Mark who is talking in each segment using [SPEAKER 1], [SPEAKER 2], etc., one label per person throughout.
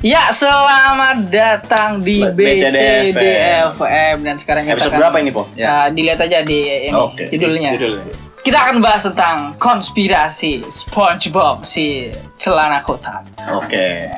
[SPEAKER 1] Ya, selamat datang di
[SPEAKER 2] Be- BCDFM.
[SPEAKER 1] BCDFM dan sekarang kita
[SPEAKER 2] Episode
[SPEAKER 1] akan-
[SPEAKER 2] berapa ini, Po?
[SPEAKER 1] Ya, dilihat aja di ini
[SPEAKER 2] Oke.
[SPEAKER 1] judulnya.
[SPEAKER 3] Judulnya.
[SPEAKER 1] Kita akan bahas tentang konspirasi SpongeBob si celana kotak.
[SPEAKER 2] Oke.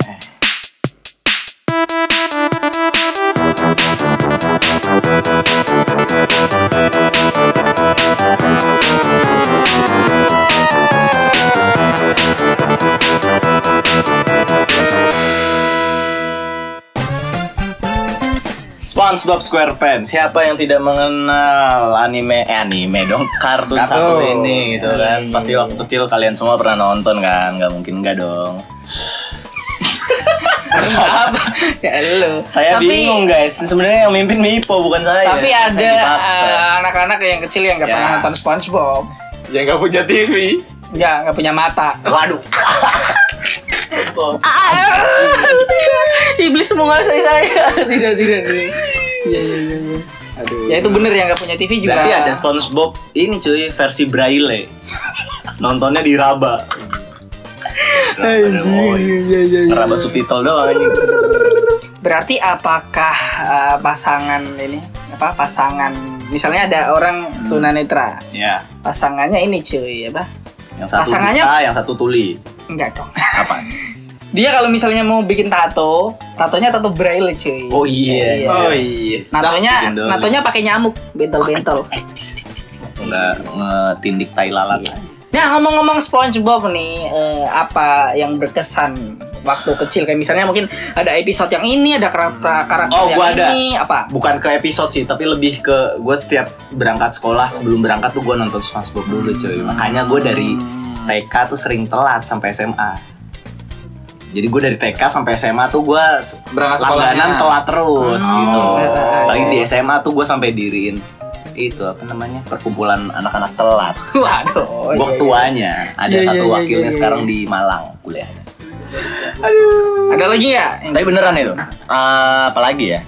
[SPEAKER 2] SpongeBob SquarePants. Siapa yang tidak mengenal anime eh, anime dong kartun satu
[SPEAKER 3] Kartun.
[SPEAKER 2] ini gitu kan? Pasti waktu kecil kalian semua pernah nonton kan? Gak mungkin enggak dong.
[SPEAKER 1] Apa? ya lu.
[SPEAKER 2] Saya
[SPEAKER 1] tapi,
[SPEAKER 2] bingung guys. Sebenarnya yang mimpin Mipo bukan saya.
[SPEAKER 1] Tapi
[SPEAKER 2] Saya
[SPEAKER 1] ada
[SPEAKER 2] dipaksa.
[SPEAKER 1] eh, anak-anak yang kecil yang nggak
[SPEAKER 2] Ya.
[SPEAKER 1] pernah nonton SpongeBob.
[SPEAKER 3] Yang nggak punya TV.
[SPEAKER 1] Ya, nggak punya mata.
[SPEAKER 2] Waduh.
[SPEAKER 1] Ah, Iblis menguasai saya. tidak, tidak, tidak. Ya, ya, ya, ya.
[SPEAKER 3] Aduh.
[SPEAKER 1] Ya itu bener yang nggak punya TV juga.
[SPEAKER 2] Berarti ada SpongeBob ini cuy versi braille. Nontonnya di raba.
[SPEAKER 3] iya,
[SPEAKER 2] Raba subtitle doang anjing.
[SPEAKER 1] Berarti apakah eh, pasangan ini apa pasangan misalnya ada
[SPEAKER 2] Hmm.
[SPEAKER 1] orang tunanetra
[SPEAKER 2] Ya.
[SPEAKER 1] pasangannya ini cuy apa
[SPEAKER 2] Yang satu
[SPEAKER 1] Pasangannya-
[SPEAKER 2] buta, yang satu tuli.
[SPEAKER 1] enggak dong
[SPEAKER 2] Apa?
[SPEAKER 1] dia kalau misalnya mau bikin tato tatonya tato braille cuy
[SPEAKER 2] Oh iya. Nah,
[SPEAKER 1] Iya.
[SPEAKER 3] Oh iya.
[SPEAKER 1] natonya
[SPEAKER 2] bikin dong.
[SPEAKER 1] natonya pakai nyamuk bentol bentol
[SPEAKER 2] Enggak ngetindik tai lalat.
[SPEAKER 3] Iya.
[SPEAKER 1] nah ngomong-ngomong SpongeBob nih eh, apa yang berkesan waktu kecil kayak misalnya mungkin ada episode yang ini ada karakter karakter
[SPEAKER 2] Oh,
[SPEAKER 1] yang
[SPEAKER 2] gua ada.
[SPEAKER 1] ini apa
[SPEAKER 2] Bukan ke episode sih, tapi lebih ke gue setiap berangkat sekolah sebelum berangkat tuh gue nonton SpongeBob dulu cuy.
[SPEAKER 3] Hmm.
[SPEAKER 2] Makanya gue dari TK tuh sering telat sampai SMA. Jadi gue dari TK sampai SMA tuh gue
[SPEAKER 3] Berangkat
[SPEAKER 2] langganan
[SPEAKER 3] sekolahnya.
[SPEAKER 2] telat terus
[SPEAKER 1] Oh.
[SPEAKER 2] gitu. Paling di SMA tuh gue sampai diriin itu apa namanya perkumpulan anak-anak telat.
[SPEAKER 1] waduh iya,
[SPEAKER 2] Gue
[SPEAKER 1] iya.
[SPEAKER 2] ketuanya ada
[SPEAKER 1] Iya, iya,
[SPEAKER 2] satu
[SPEAKER 1] iya,
[SPEAKER 2] wakilnya
[SPEAKER 1] iya, iya.
[SPEAKER 2] sekarang di Malang kuliah.
[SPEAKER 1] ada lagi ya
[SPEAKER 2] Tapi beneran itu. Eh,
[SPEAKER 1] Ah.
[SPEAKER 2] apalagi ya?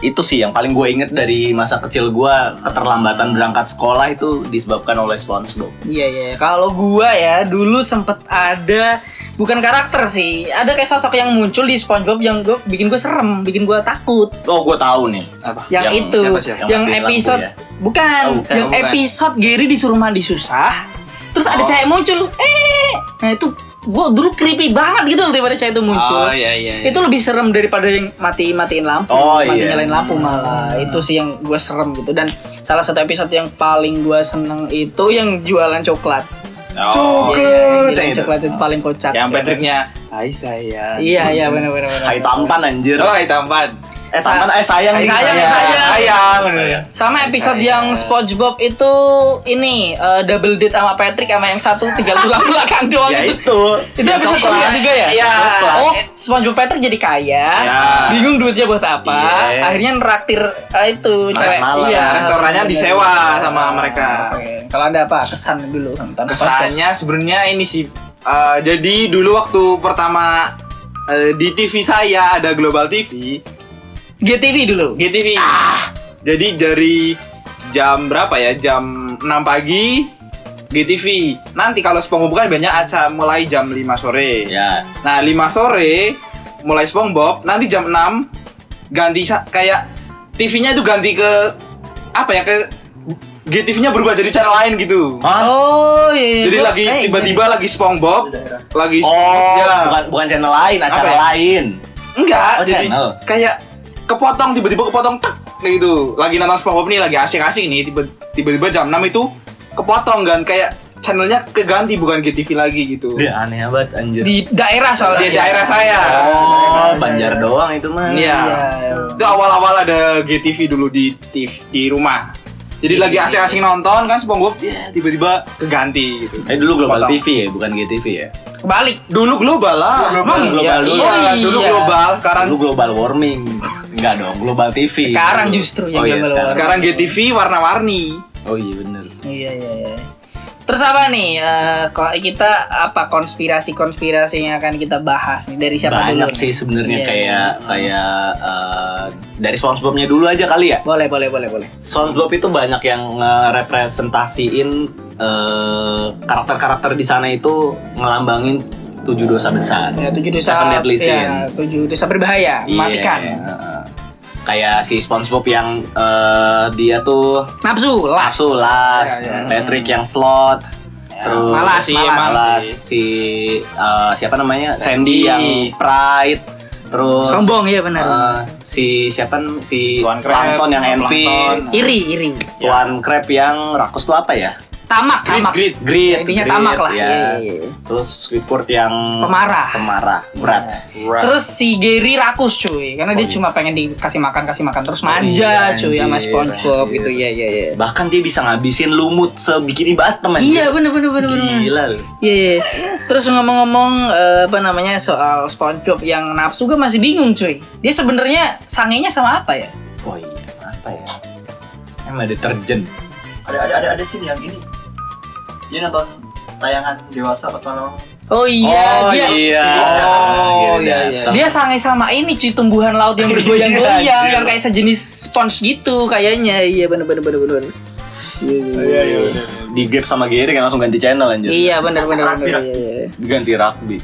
[SPEAKER 2] Itu sih yang paling gue inget dari masa kecil gue keterlambatan berangkat sekolah itu disebabkan oleh SpongeBob.
[SPEAKER 1] Iya iya. Kalau gua ya dulu sempet ada bukan karakter sih, ada kayak sosok yang muncul di SpongeBob yang gua bikin gue serem, bikin gua takut.
[SPEAKER 2] Oh gue tahu nih.
[SPEAKER 3] Apa?
[SPEAKER 1] Yang,
[SPEAKER 2] Yang
[SPEAKER 1] itu,
[SPEAKER 3] siapa sih?
[SPEAKER 2] Yang
[SPEAKER 1] yang
[SPEAKER 2] mati lampu
[SPEAKER 1] episode
[SPEAKER 2] ya?
[SPEAKER 1] bukan,
[SPEAKER 2] Oh, bukan,
[SPEAKER 1] yang
[SPEAKER 3] bukan.
[SPEAKER 1] episode Gary disuruh mandi susah. Terus ada
[SPEAKER 3] Oh.
[SPEAKER 1] cewek muncul, eh, nah itu gua dulu creepy banget gitu loh daripada cewek itu muncul.
[SPEAKER 3] Oh iya iya.
[SPEAKER 1] Itu lebih serem daripada yang mati-matiin lampu,
[SPEAKER 2] Oh,
[SPEAKER 1] mati
[SPEAKER 2] iya.
[SPEAKER 1] nyalain lampu malah. Itu sih yang gue serem gitu. Dan salah satu episode yang paling gue seneng itu yang jualan coklat.
[SPEAKER 2] Oh,
[SPEAKER 1] Iya,
[SPEAKER 3] Coklat.
[SPEAKER 1] yang coklat itu paling kocak. ya.
[SPEAKER 3] Yang Patricknya. Hai sayang.
[SPEAKER 1] Iya, iya benar benar benar.
[SPEAKER 2] Hai tampan anjir.
[SPEAKER 3] Oh hai tampan.
[SPEAKER 2] Eh tampan, eh sayang.
[SPEAKER 1] Hai
[SPEAKER 2] nih,
[SPEAKER 1] sayang,
[SPEAKER 2] sayang.
[SPEAKER 1] hai sayang.
[SPEAKER 3] Sayang. Ya.
[SPEAKER 2] Sayang.
[SPEAKER 1] Sama episode
[SPEAKER 3] Saya.
[SPEAKER 1] yang SpongeBob itu ini eh, double date sama Patrick sama yang satu tinggal tulang belakang doang.
[SPEAKER 2] Ya
[SPEAKER 1] itu.
[SPEAKER 2] itu.
[SPEAKER 1] Itu
[SPEAKER 2] Yang
[SPEAKER 1] episode
[SPEAKER 2] coklat.
[SPEAKER 1] juga, juga ya?
[SPEAKER 3] Iya.
[SPEAKER 1] Oh, SpongeBob Patrick jadi kaya.
[SPEAKER 3] Ya.
[SPEAKER 1] Bingung duitnya buat apa?
[SPEAKER 2] Iya.
[SPEAKER 1] Akhirnya neraktir eh, itu cewek.
[SPEAKER 2] malam.
[SPEAKER 3] Nah, Restorannya
[SPEAKER 1] benar,
[SPEAKER 3] disewa
[SPEAKER 1] benar.
[SPEAKER 3] sama mereka.
[SPEAKER 1] Oke. Kalau ada apa kesan dulu tentang SpongeBob.
[SPEAKER 3] Kesannya sebenarnya ini sih. eh, jadi dulu waktu pertama eh, di TV saya ada Global TV.
[SPEAKER 1] GTV dulu.
[SPEAKER 3] GTV. Jadi dari jam berapa ya? Jam 6 pagi GTV. Nanti kalau SpongeBob kan banyak acara mulai jam 5 sore.
[SPEAKER 2] Ya.
[SPEAKER 3] Nah, 5 sore mulai SpongeBob, nanti jam 6 ganti sa- kayak TV-nya itu ganti ke apa ya? Ke GTV-nya berubah jadi cara lain gitu.
[SPEAKER 2] Hah?
[SPEAKER 1] Oh, iya. iya.
[SPEAKER 3] Jadi
[SPEAKER 1] Gua-
[SPEAKER 3] lagi
[SPEAKER 1] eh, iya,
[SPEAKER 3] tiba-tiba lagi SpongeBob, lagi
[SPEAKER 2] Oh,
[SPEAKER 3] ya.
[SPEAKER 2] bukan bukan channel lain, acara
[SPEAKER 3] Apa ya?
[SPEAKER 2] lain.
[SPEAKER 3] Enggak,
[SPEAKER 2] Oh,
[SPEAKER 3] jadi
[SPEAKER 2] channel.
[SPEAKER 3] kayak kepotong tiba-tiba kepotong tek kayak gitu. Lagi nonton SpongeBob nih lagi asik-asik nih tiba- tiba-tiba jam 6 itu kepotong kan kayak channelnya keganti bukan GTV lagi gitu.
[SPEAKER 2] Dia aneh banget anjir.
[SPEAKER 1] di daerah soalnya.
[SPEAKER 3] Di daerah saya.
[SPEAKER 2] Oh, Banjar doang itu mah.
[SPEAKER 3] Iya.
[SPEAKER 1] Iya.
[SPEAKER 3] Itu awal-awal ada GTV dulu di TV di rumah. Jadi lagi asik-asik nonton kan SpongeBob ya, tiba-tiba keganti gitu.
[SPEAKER 2] Eh dulu Global
[SPEAKER 3] Potong.
[SPEAKER 2] TV ya, bukan GTV ya.
[SPEAKER 1] Kebalik.
[SPEAKER 3] Dulu global lah.
[SPEAKER 2] Global,
[SPEAKER 3] Emang
[SPEAKER 2] global
[SPEAKER 3] iya,
[SPEAKER 2] dulu.
[SPEAKER 3] Iya,
[SPEAKER 1] Oh,
[SPEAKER 3] dulu
[SPEAKER 1] iya.
[SPEAKER 3] global sekarang
[SPEAKER 2] Dulu Global Warming. Enggak dong, Global TV.
[SPEAKER 1] Sekarang justru yang
[SPEAKER 2] oh, iya,
[SPEAKER 1] Global
[SPEAKER 2] sekarang.
[SPEAKER 3] sekarang GTV warna-warni.
[SPEAKER 2] Oh iya bener.
[SPEAKER 1] Iya iya iya. Terus apa nih? eh, Kalau kita apa konspirasi-konspirasi yang akan kita bahas nih dari siapa dulu?
[SPEAKER 2] Banyak
[SPEAKER 1] nih?
[SPEAKER 2] sih sebenarnya
[SPEAKER 1] Iya,
[SPEAKER 2] kayak
[SPEAKER 1] iya.
[SPEAKER 2] kayak eh, dari SpongeBob-nya dulu aja kali ya.
[SPEAKER 1] Boleh boleh boleh boleh.
[SPEAKER 2] SpongeBob itu banyak yang eh, ngerepresentasiin eh, karakter-karakter di sana itu ngelambangin tujuh dosa besar.
[SPEAKER 1] Ya, tujuh dosa
[SPEAKER 2] Seven deadly
[SPEAKER 1] ya,
[SPEAKER 2] sins.
[SPEAKER 1] tujuh dosa berbahaya, mematikan.
[SPEAKER 2] Iya, heeh. Kayak si SpongeBob yang eh, dia tuh
[SPEAKER 1] Nafsu, las.
[SPEAKER 2] Asu, Las,
[SPEAKER 3] Iya, iya.
[SPEAKER 2] Patrick yang slot,
[SPEAKER 1] Iya.
[SPEAKER 2] terus
[SPEAKER 1] Malas,
[SPEAKER 2] si
[SPEAKER 1] malas.
[SPEAKER 2] malas, si eh, siapa namanya Sandy,
[SPEAKER 3] Sandy.
[SPEAKER 2] yang pride, terus
[SPEAKER 1] Sombong ya benar.
[SPEAKER 2] eh, si siapa n- si
[SPEAKER 3] Tuan Crab,
[SPEAKER 2] Plankton yang
[SPEAKER 3] Tuan
[SPEAKER 2] envy,
[SPEAKER 3] Plankton.
[SPEAKER 1] iri, iri. ya.
[SPEAKER 2] Tuan Crab yang rakus tuh apa ya?
[SPEAKER 1] Tamak,
[SPEAKER 3] Grid,
[SPEAKER 1] tamak.
[SPEAKER 3] grid.
[SPEAKER 2] Greed,
[SPEAKER 1] Intinya
[SPEAKER 2] greed,
[SPEAKER 1] tamak lah.
[SPEAKER 2] ya.
[SPEAKER 1] Iya, iya, iya.
[SPEAKER 2] Terus Squidward yang
[SPEAKER 1] Pemarah. Iya.
[SPEAKER 2] pemarah, berat.
[SPEAKER 1] Terus si Gary rakus cuy, karena dia cuma pengen dikasih makan, kasih makan terus manja
[SPEAKER 2] Oh, iya,
[SPEAKER 1] cuy sama
[SPEAKER 2] anjir,
[SPEAKER 1] SpongeBob
[SPEAKER 2] anjir.
[SPEAKER 1] gitu. Iya, iya, iya.
[SPEAKER 2] Bahkan dia bisa ngabisin lumut sebikini batem anjir.
[SPEAKER 1] Iya, bener bener bener bener.
[SPEAKER 2] Gila lu.
[SPEAKER 1] Iya. iya. Terus ngomong-ngomong eh, apa namanya soal SpongeBob yang nafsu gue masih bingung cuy. Dia sebenarnya sangenya sama apa ya?
[SPEAKER 2] Oh iya, apa ya? Emang deterjen.
[SPEAKER 4] ada ada ada ada sini yang ini dia nonton tayangan dewasa pas malam
[SPEAKER 1] Oh iya,
[SPEAKER 2] oh
[SPEAKER 1] dia
[SPEAKER 2] iya. Gila.
[SPEAKER 3] Oh, iya, iya.
[SPEAKER 1] dia sange sama ini cuy tumbuhan laut yang bergoyang-goyang yang kayak sejenis sponge gitu kayaknya. Iya bener bener bener bener. Iya, Iya, iya.
[SPEAKER 2] Di gap sama Gary kan langsung ganti channel anjir.
[SPEAKER 1] Iya, bener bener bener. Iya, iya, iya.
[SPEAKER 2] Ganti rugby.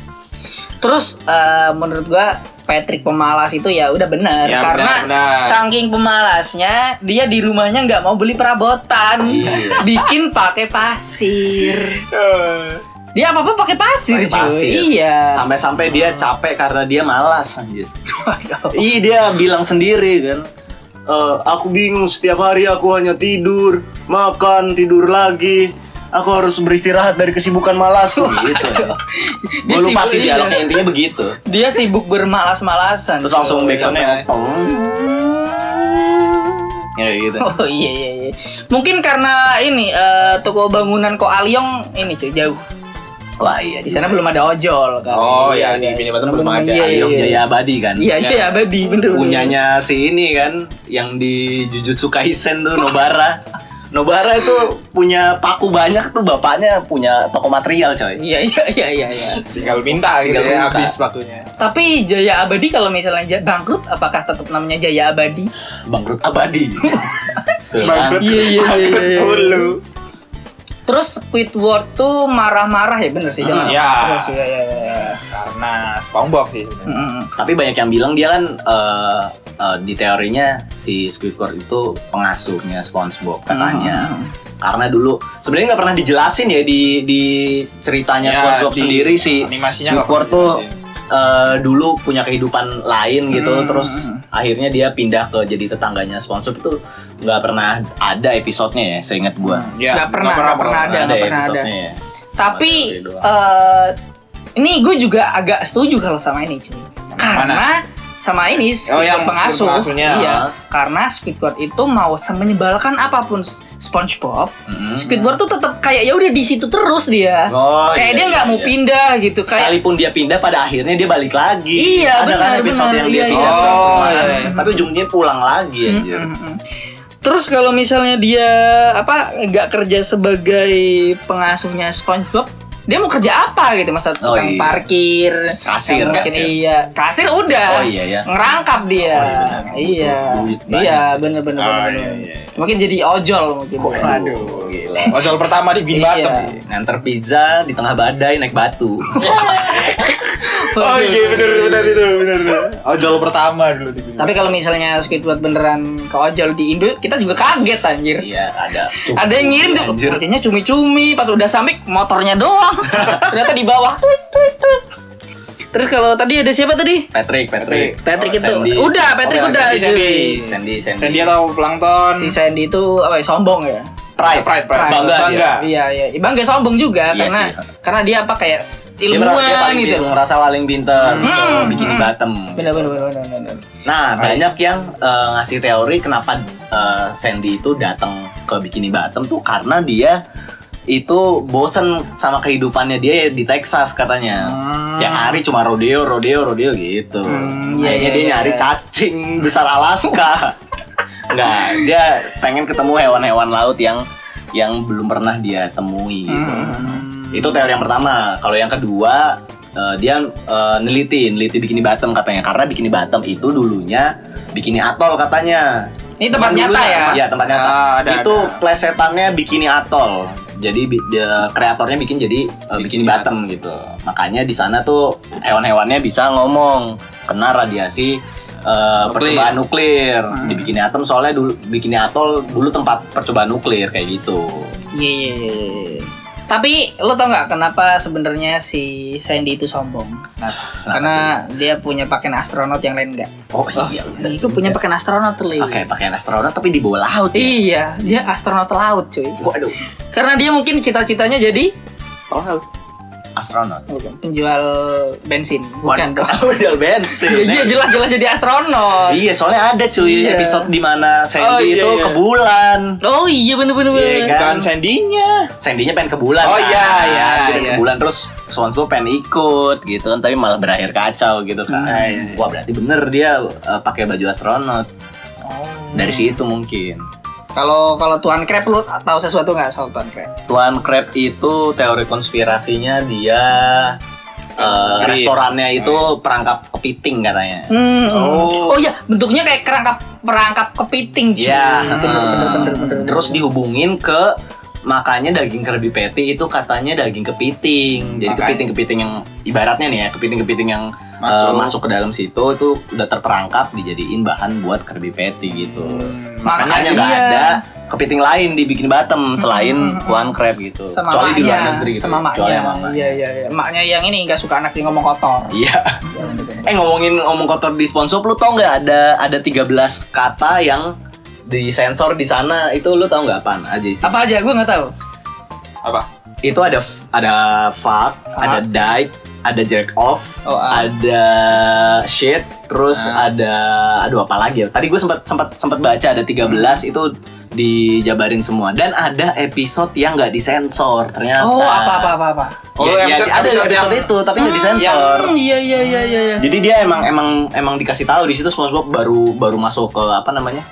[SPEAKER 1] Terus eh, menurut gua Patrick pemalas itu ya udah benar
[SPEAKER 3] Ya,
[SPEAKER 1] karena
[SPEAKER 3] benar, benar.
[SPEAKER 1] saking pemalasnya dia di rumahnya nggak mau beli perabotan,
[SPEAKER 2] Iya.
[SPEAKER 1] bikin pakai pasir. Dia apa apa pakai pasir,
[SPEAKER 2] Pakai
[SPEAKER 1] cuy.
[SPEAKER 2] pasir.
[SPEAKER 1] Iya.
[SPEAKER 2] Sampai-sampai dia capek karena dia malas anjir.
[SPEAKER 1] Waduh.
[SPEAKER 2] Iya dia bilang sendiri kan. "Eh, aku bingung setiap hari aku hanya tidur, makan, tidur lagi. Aku harus beristirahat dari kesibukan malasku gitu. Gue lupa
[SPEAKER 1] sibuk-
[SPEAKER 2] sih
[SPEAKER 1] iya.
[SPEAKER 2] dialognya intinya begitu.
[SPEAKER 1] Dia sibuk bermalas-malasan.
[SPEAKER 2] Terus langsung
[SPEAKER 1] cuy.
[SPEAKER 2] backsoundnya yang tong. Ya gitu.
[SPEAKER 1] Oh iya iya iya. Mungkin karena ini eh, toko bangunan Ko Aliong ini cuy jauh.
[SPEAKER 2] Wah iya
[SPEAKER 1] Di sana belum ada ojol kan.
[SPEAKER 3] Oh, iya, di Minimarket belum ada.
[SPEAKER 2] Aliong Jaya Abadi kan.
[SPEAKER 1] Iya, iya, abadi, bener. bener.
[SPEAKER 2] Punyanya si ini kan yang di Jujutsu Kaisen tuh Nobara. Nobara itu punya paku banyak tuh bapaknya punya toko material coy.
[SPEAKER 1] Iya, iya, iya, iya, iya.
[SPEAKER 3] Tinggal minta gitu
[SPEAKER 2] Tinggal
[SPEAKER 3] ya,
[SPEAKER 2] minta.
[SPEAKER 3] habis waktunya.
[SPEAKER 1] Tapi Jaya Abadi kalau misalnya ja- bangkrut, apakah tetap namanya Jaya Abadi?
[SPEAKER 2] Bangkrut abadi. Selang.
[SPEAKER 1] Iya, iya, iya, iya.
[SPEAKER 3] Dulu.
[SPEAKER 1] Terus Squidward tuh marah-marah ya bener sih dia
[SPEAKER 2] Hmm,
[SPEAKER 1] marah.
[SPEAKER 3] iya.
[SPEAKER 1] Terus iya, iya, iya.
[SPEAKER 3] Karena SpongeBob sih sebenarnya.
[SPEAKER 1] Mm-mm.
[SPEAKER 2] Tapi banyak yang bilang dia kan eh, eh, di teorinya si Squidward itu pengasuhnya SpongeBob katanya.
[SPEAKER 1] Mm.
[SPEAKER 2] Karena dulu sebenarnya nggak pernah dijelasin ya di di ceritanya
[SPEAKER 3] Ya,
[SPEAKER 2] SpongeBob
[SPEAKER 3] di
[SPEAKER 2] sendiri si
[SPEAKER 3] animasinya
[SPEAKER 2] Squidward
[SPEAKER 3] nggak
[SPEAKER 2] tuh
[SPEAKER 3] pernah
[SPEAKER 2] eh, dulu punya kehidupan lain gitu
[SPEAKER 1] Hmm.
[SPEAKER 2] terus akhirnya dia pindah ke jadi tetangganya SpongeBob itu nggak pernah ada episodenya ya seingat gua.
[SPEAKER 3] Ya,
[SPEAKER 1] Nggak pernah, nggak pernah Hmm. ada,
[SPEAKER 2] Nggak
[SPEAKER 1] nggak pernah ada.
[SPEAKER 2] episodenya ya.
[SPEAKER 1] Tapi
[SPEAKER 2] teori doang.
[SPEAKER 1] eh ini gue juga agak setuju kalau sama ini cuy. Karena sama ini Squidward
[SPEAKER 3] yang
[SPEAKER 1] pengasuh.
[SPEAKER 3] pengasuhnya.
[SPEAKER 1] Iya, karena Squidward itu mau semenyebalkan apapun S- SpongeBob.
[SPEAKER 2] Mm-mm.
[SPEAKER 1] Squidward tuh tetap kayak ya udah di situ terus dia.
[SPEAKER 2] Hmm. Oh,
[SPEAKER 1] kayak
[SPEAKER 2] iya,
[SPEAKER 1] dia nggak
[SPEAKER 2] iya,
[SPEAKER 1] mau
[SPEAKER 2] iya.
[SPEAKER 1] pindah gitu kayak
[SPEAKER 2] Sekalipun dia pindah pada akhirnya dia balik lagi.
[SPEAKER 1] Iya,
[SPEAKER 2] ada kan
[SPEAKER 1] benar,
[SPEAKER 2] episode
[SPEAKER 1] benar.
[SPEAKER 2] yang dia
[SPEAKER 1] Iya,
[SPEAKER 2] pindah
[SPEAKER 3] iya.
[SPEAKER 2] pulang
[SPEAKER 3] Oh,
[SPEAKER 2] kemana.
[SPEAKER 3] iya, iya.
[SPEAKER 2] Tapi ujungnya pulang lagi ya. anjir.
[SPEAKER 1] Mm, mm, mm. terus kalau misalnya dia apa nggak kerja sebagai pengasuhnya SpongeBob dia mau kerja apa gitu masa
[SPEAKER 2] Oh,
[SPEAKER 1] tukang
[SPEAKER 2] iya.
[SPEAKER 1] parkir
[SPEAKER 2] Kasir,
[SPEAKER 1] yang mungkin
[SPEAKER 2] kasir.
[SPEAKER 1] iya kasir udah
[SPEAKER 2] Oh, iya, ya.
[SPEAKER 1] ngerangkap dia
[SPEAKER 2] Oh, iya,
[SPEAKER 1] iya
[SPEAKER 2] benar. Butuh duit banyak. Ah,
[SPEAKER 1] iya bener bener,
[SPEAKER 3] Oh,
[SPEAKER 1] bener,
[SPEAKER 3] iya,
[SPEAKER 1] bener.
[SPEAKER 3] iya, iya.
[SPEAKER 1] mungkin jadi ojol mungkin
[SPEAKER 2] Waduh, gila.
[SPEAKER 3] Ojol pertama di Bin
[SPEAKER 1] Iya.
[SPEAKER 3] Batam.
[SPEAKER 2] Nganter pizza di tengah badai naik batu.
[SPEAKER 3] Oh iya bener bener itu bener bener. Ojol pertama dulu di Bin
[SPEAKER 1] tapi kalau misalnya Squidward beneran ke ojol di Indo kita juga kaget anjir
[SPEAKER 2] Iya, ada.
[SPEAKER 1] ada yang ngirim tuh
[SPEAKER 2] Anjir.
[SPEAKER 1] artinya cumi-cumi pas udah sampai motornya doang ternyata di bawah Tuit, tuit, tuit. terus kalau tadi ada siapa tadi
[SPEAKER 2] Patrick, Patrick.
[SPEAKER 1] Patrick
[SPEAKER 2] Oh,
[SPEAKER 1] itu
[SPEAKER 2] Sandy.
[SPEAKER 1] udah Patrick
[SPEAKER 2] Oh,
[SPEAKER 1] udah
[SPEAKER 2] Sandy,
[SPEAKER 1] cuy.
[SPEAKER 3] Sandy.
[SPEAKER 2] Sandy, Sandy.
[SPEAKER 3] Dan dia tahu plankton.
[SPEAKER 1] si Sandy itu apa ya, sombong ya
[SPEAKER 2] Pride,
[SPEAKER 3] Pride, pride.
[SPEAKER 2] Bangga, dia.
[SPEAKER 1] iya iya Ibang gak sombong juga
[SPEAKER 2] Ya. Iya
[SPEAKER 1] karena
[SPEAKER 2] sih.
[SPEAKER 1] karena dia apa kayak
[SPEAKER 2] Dia merasa dia
[SPEAKER 1] ilmuwan
[SPEAKER 2] paling
[SPEAKER 1] gitu
[SPEAKER 2] gitu. ngerasa paling pinter, bisa
[SPEAKER 1] Hmm,
[SPEAKER 2] bikin
[SPEAKER 1] hmm.
[SPEAKER 2] bottom.
[SPEAKER 1] bener bener bener bener, bener.
[SPEAKER 2] Nah, banyak yang eh, ngasih teori kenapa eh, Sandy itu datang ke Bikini Bottom tuh karena dia itu bosen sama kehidupannya dia di Texas katanya. Yang hari cuma rodeo, rodeo, rodeo gitu.
[SPEAKER 1] Hmm, iya,
[SPEAKER 2] Akhirnya
[SPEAKER 1] iya,
[SPEAKER 2] dia
[SPEAKER 1] iya,
[SPEAKER 2] nyari
[SPEAKER 1] iya.
[SPEAKER 2] cacing besar Alaska. Enggak, dia pengen ketemu hewan-hewan laut yang yang belum pernah dia temui gitu.
[SPEAKER 1] Hmm.
[SPEAKER 2] Itu teori yang pertama. Kalau yang kedua, eh, dia eh, neliti, neliti bikini Batam katanya. Karena bikini Batam itu dulunya bikini atol katanya.
[SPEAKER 1] ini tempat
[SPEAKER 2] Bukan
[SPEAKER 1] nyata
[SPEAKER 2] dulunya,
[SPEAKER 1] ya
[SPEAKER 2] Iya, tempat nyata.
[SPEAKER 3] Ah, ada,
[SPEAKER 2] itu
[SPEAKER 3] ada.
[SPEAKER 2] plesetannya bikini atol. jadi bi- dia- kreatornya bikin jadi uh, bikini bottom gitu makanya di sana tuh hewan-hewannya bisa ngomong kena radiasi uh,
[SPEAKER 3] Nuklir.
[SPEAKER 2] percobaan nuklir di bikini atom soalnya dulu bikini atol dulu tempat percobaan nuklir kayak gitu
[SPEAKER 1] Iya, iya, iya, iya. Tapi lo tau nggak kenapa sebenarnya si Sandy itu sombong?
[SPEAKER 2] Nah,
[SPEAKER 1] Karena dia punya pakaian astronot yang lain nggak?
[SPEAKER 2] oh iya bener
[SPEAKER 1] Dia punya pakaian astronot
[SPEAKER 3] Iya.
[SPEAKER 1] tuh, Li.
[SPEAKER 2] pakai pakaian astronot tapi di bawah laut ya
[SPEAKER 1] Iya, dia astronot laut cuy.
[SPEAKER 2] waduh
[SPEAKER 1] Karena dia mungkin cita-citanya jadi
[SPEAKER 3] Oh,
[SPEAKER 2] astronot
[SPEAKER 1] penjual bensin, bukan dong.
[SPEAKER 2] Waduh, jual bensin
[SPEAKER 1] Iya jelas-jelas jadi astronot.
[SPEAKER 2] Iya, soalnya ada cuy
[SPEAKER 1] Iya.
[SPEAKER 2] episode di mana Sandy
[SPEAKER 3] Oh, iya,
[SPEAKER 2] itu
[SPEAKER 3] iya.
[SPEAKER 2] ke bulan.
[SPEAKER 1] Oh iya bener-bener.
[SPEAKER 2] Iya,
[SPEAKER 1] bener.
[SPEAKER 2] kan?
[SPEAKER 3] bukan sandinya.
[SPEAKER 2] Sandy-nya pengen ke bulan.
[SPEAKER 3] Oh,
[SPEAKER 2] kan?
[SPEAKER 3] iya, iya,
[SPEAKER 2] Dia pengen
[SPEAKER 3] iya.
[SPEAKER 2] Ke bulan terus SpongeBob pengen ikut gitu kan, tapi malah berakhir kacau gitu kan.
[SPEAKER 3] Hmm.
[SPEAKER 2] Wah, berarti bener dia eh, pakai baju astronot.
[SPEAKER 1] Oh.
[SPEAKER 2] Dari
[SPEAKER 3] Hmm.
[SPEAKER 2] situ mungkin.
[SPEAKER 1] Kalau kalau Tuan Crab lu tahu sesuatu nggak soal Tuan Crab?
[SPEAKER 2] Tuan Crab itu teori konspirasinya dia eh,
[SPEAKER 3] Green.
[SPEAKER 2] restorannya itu
[SPEAKER 3] Hmm.
[SPEAKER 2] perangkap kepiting katanya.
[SPEAKER 1] Hmm. Oh
[SPEAKER 3] Oh.
[SPEAKER 1] iya bentuknya kayak kerangkap perangkap kepiting. cuy.
[SPEAKER 2] Iya.
[SPEAKER 1] Bener,
[SPEAKER 2] heeh.
[SPEAKER 1] bener, bener, bener, bener.
[SPEAKER 2] Terus dihubungin ke makanya daging Krabby Patty itu katanya daging kepiting. Jadi
[SPEAKER 3] Makanya.
[SPEAKER 2] kepiting-kepiting yang ibaratnya nih ya, kepiting-kepiting yang eh, masuk.
[SPEAKER 3] Masuk.
[SPEAKER 2] ke dalam situ itu udah terperangkap dijadiin bahan buat Krabby Patty gitu.
[SPEAKER 1] Makanya
[SPEAKER 2] Makanya nggak
[SPEAKER 1] iya.
[SPEAKER 2] ada kepiting lain dibikin Batem
[SPEAKER 1] Hmm,
[SPEAKER 2] selain
[SPEAKER 1] hmm, hmm.
[SPEAKER 2] Tuan Crab gitu.
[SPEAKER 1] sama
[SPEAKER 2] Kecuali
[SPEAKER 1] maknya,
[SPEAKER 2] di luar negeri gitu.
[SPEAKER 1] sama
[SPEAKER 2] Kecuali
[SPEAKER 1] maknya.
[SPEAKER 2] sama emak.
[SPEAKER 1] Iya iya iya. Maknya yang ini nggak suka anak yang ngomong kotor.
[SPEAKER 2] Iya. Eh ngomongin ngomong kotor di sponsor lu tau nggak ada ada 13 kata yang disensor di sana itu lu tau nggak apaan aja sih?
[SPEAKER 1] Apa aja gue nggak tahu.
[SPEAKER 3] Apa?
[SPEAKER 2] itu ada f- ada fuck, ada dive, ada jerk off,
[SPEAKER 1] Oh, ah.
[SPEAKER 2] ada shit, terus
[SPEAKER 3] Ah.
[SPEAKER 2] ada aduh apa lagi ya? Tadi gue sempat sempat sempat baca ada 13 itu dijabarin semua dan ada episode yang nggak disensor ternyata.
[SPEAKER 1] Oh apa apa apa apa.
[SPEAKER 2] Ya,
[SPEAKER 3] Oh,
[SPEAKER 2] ya,
[SPEAKER 3] episode-
[SPEAKER 2] ada
[SPEAKER 3] episode-
[SPEAKER 2] episode,
[SPEAKER 3] episode-
[SPEAKER 2] itu tapi nggak disensor.
[SPEAKER 1] Hmm, iya iya iya iya. iya.
[SPEAKER 2] Jadi dia emang emang emang dikasih tahu di situ SpongeBob baru baru masuk ke apa namanya?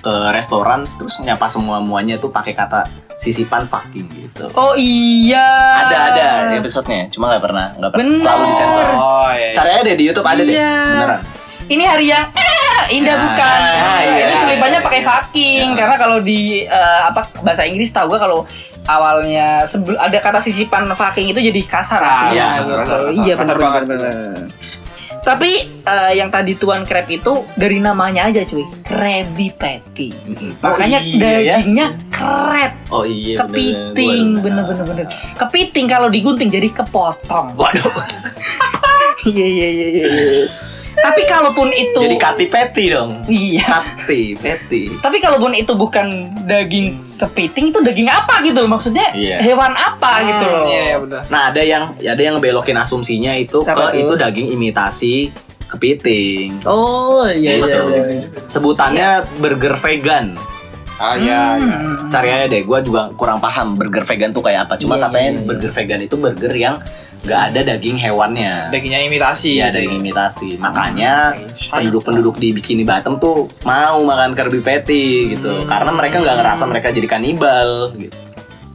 [SPEAKER 2] ke restoran terus nyapa semua muanya tuh pakai kata sisipan fucking gitu.
[SPEAKER 1] Oh iya.
[SPEAKER 2] Ada ada episodenya, cuma nggak pernah nggak pernah
[SPEAKER 1] Bener.
[SPEAKER 2] selalu disensor.
[SPEAKER 3] Oh, iya.
[SPEAKER 2] Caranya deh di YouTube ada deh.
[SPEAKER 1] Iya.
[SPEAKER 2] Beneran.
[SPEAKER 1] Ini hari yang eh, indah
[SPEAKER 2] Nah,
[SPEAKER 1] bukan?
[SPEAKER 2] nah, iya,
[SPEAKER 1] itu selipannya
[SPEAKER 3] iya,
[SPEAKER 1] pakai
[SPEAKER 3] iya.
[SPEAKER 1] fucking
[SPEAKER 2] Iya.
[SPEAKER 1] karena kalau di eh, apa bahasa Inggris tahu gue kalau awalnya sebel- ada kata sisipan fucking itu jadi kasar artinya
[SPEAKER 2] iya,
[SPEAKER 1] gitu.
[SPEAKER 3] kasar, kasar,
[SPEAKER 1] Iya
[SPEAKER 3] kasar
[SPEAKER 1] benar
[SPEAKER 3] banget.
[SPEAKER 1] Tapi eh, yang tadi tuan crab itu dari namanya aja cuy, Krabby Patty.
[SPEAKER 2] Mm-mm.
[SPEAKER 1] Makanya
[SPEAKER 2] Oh, iya, ya.
[SPEAKER 1] dagingnya crab,
[SPEAKER 2] Oh iya. bener-bener.
[SPEAKER 1] kepiting,
[SPEAKER 2] Gua-
[SPEAKER 1] bener-bener bener. Kepiting kalau digunting jadi kepotong.
[SPEAKER 2] Waduh.
[SPEAKER 1] Iya iya iya iya. iya. Tapi kalaupun itu
[SPEAKER 2] Jadi kati peti dong.
[SPEAKER 1] Iya.
[SPEAKER 2] Kati peti.
[SPEAKER 1] Tapi kalaupun itu bukan
[SPEAKER 3] Hmm.
[SPEAKER 1] daging kepiting itu daging apa gitu loh maksudnya
[SPEAKER 2] Iya.
[SPEAKER 1] hewan apa gitu loh.
[SPEAKER 3] Iya, iya, benar.
[SPEAKER 2] Nah ada yang ada yang ngebelokin asumsinya itu
[SPEAKER 1] Apa tuh?
[SPEAKER 2] ke itu daging imitasi kepiting.
[SPEAKER 1] Oh iya iya.
[SPEAKER 2] Masuk.
[SPEAKER 1] iya.
[SPEAKER 2] Sebutannya burger vegan.
[SPEAKER 3] Ah, iya, iya.
[SPEAKER 1] Hmm.
[SPEAKER 2] Cari aja deh, gue juga kurang paham burger vegan tuh kayak apa. Cuma
[SPEAKER 1] Iya,
[SPEAKER 2] katanya
[SPEAKER 1] iya, iya.
[SPEAKER 2] burger vegan itu burger yang nggak ada daging hewannya.
[SPEAKER 3] Dagingnya imitasi.
[SPEAKER 2] Iya daging
[SPEAKER 1] Iya.
[SPEAKER 2] imitasi. Makanya
[SPEAKER 3] Shaitan.
[SPEAKER 2] penduduk-penduduk di Bikini Bottom tuh mau makan Kirby Patty
[SPEAKER 1] Hmm.
[SPEAKER 2] gitu karena mereka nggak ngerasa mereka jadi kanibal gitu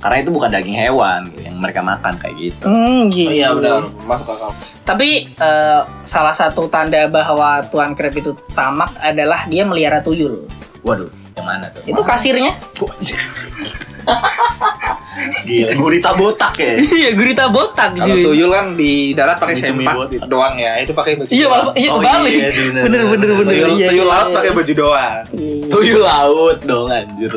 [SPEAKER 2] karena itu bukan daging hewan gitu, yang mereka makan kayak gitu
[SPEAKER 1] Hmm, iya.
[SPEAKER 3] Oh, Iya, benar. Masuk akal.
[SPEAKER 1] Tapi eh, salah satu tanda bahwa Tuan Crab itu tamak adalah dia melihara tuyul.
[SPEAKER 2] waduh yang mana tuh
[SPEAKER 1] Itu kasirnya.
[SPEAKER 2] gila gurita botak ya
[SPEAKER 1] Iya, gurita botak
[SPEAKER 3] Kalau
[SPEAKER 1] cuy.
[SPEAKER 3] tuyul kan di darat pakai
[SPEAKER 2] Cumi-cumi
[SPEAKER 3] sempak
[SPEAKER 2] botak.
[SPEAKER 3] doang ya, itu pakai baju.
[SPEAKER 1] Iya, malah iya
[SPEAKER 2] Oh,
[SPEAKER 1] kebalik.
[SPEAKER 2] iya sih, bener,
[SPEAKER 1] bener bener
[SPEAKER 2] bener.
[SPEAKER 1] bener.
[SPEAKER 3] tuyul,
[SPEAKER 1] Iya,
[SPEAKER 3] tuyul
[SPEAKER 1] iya,
[SPEAKER 3] laut
[SPEAKER 1] iya.
[SPEAKER 3] pakai baju doang.
[SPEAKER 1] Iya.
[SPEAKER 2] tuyul laut dong anjir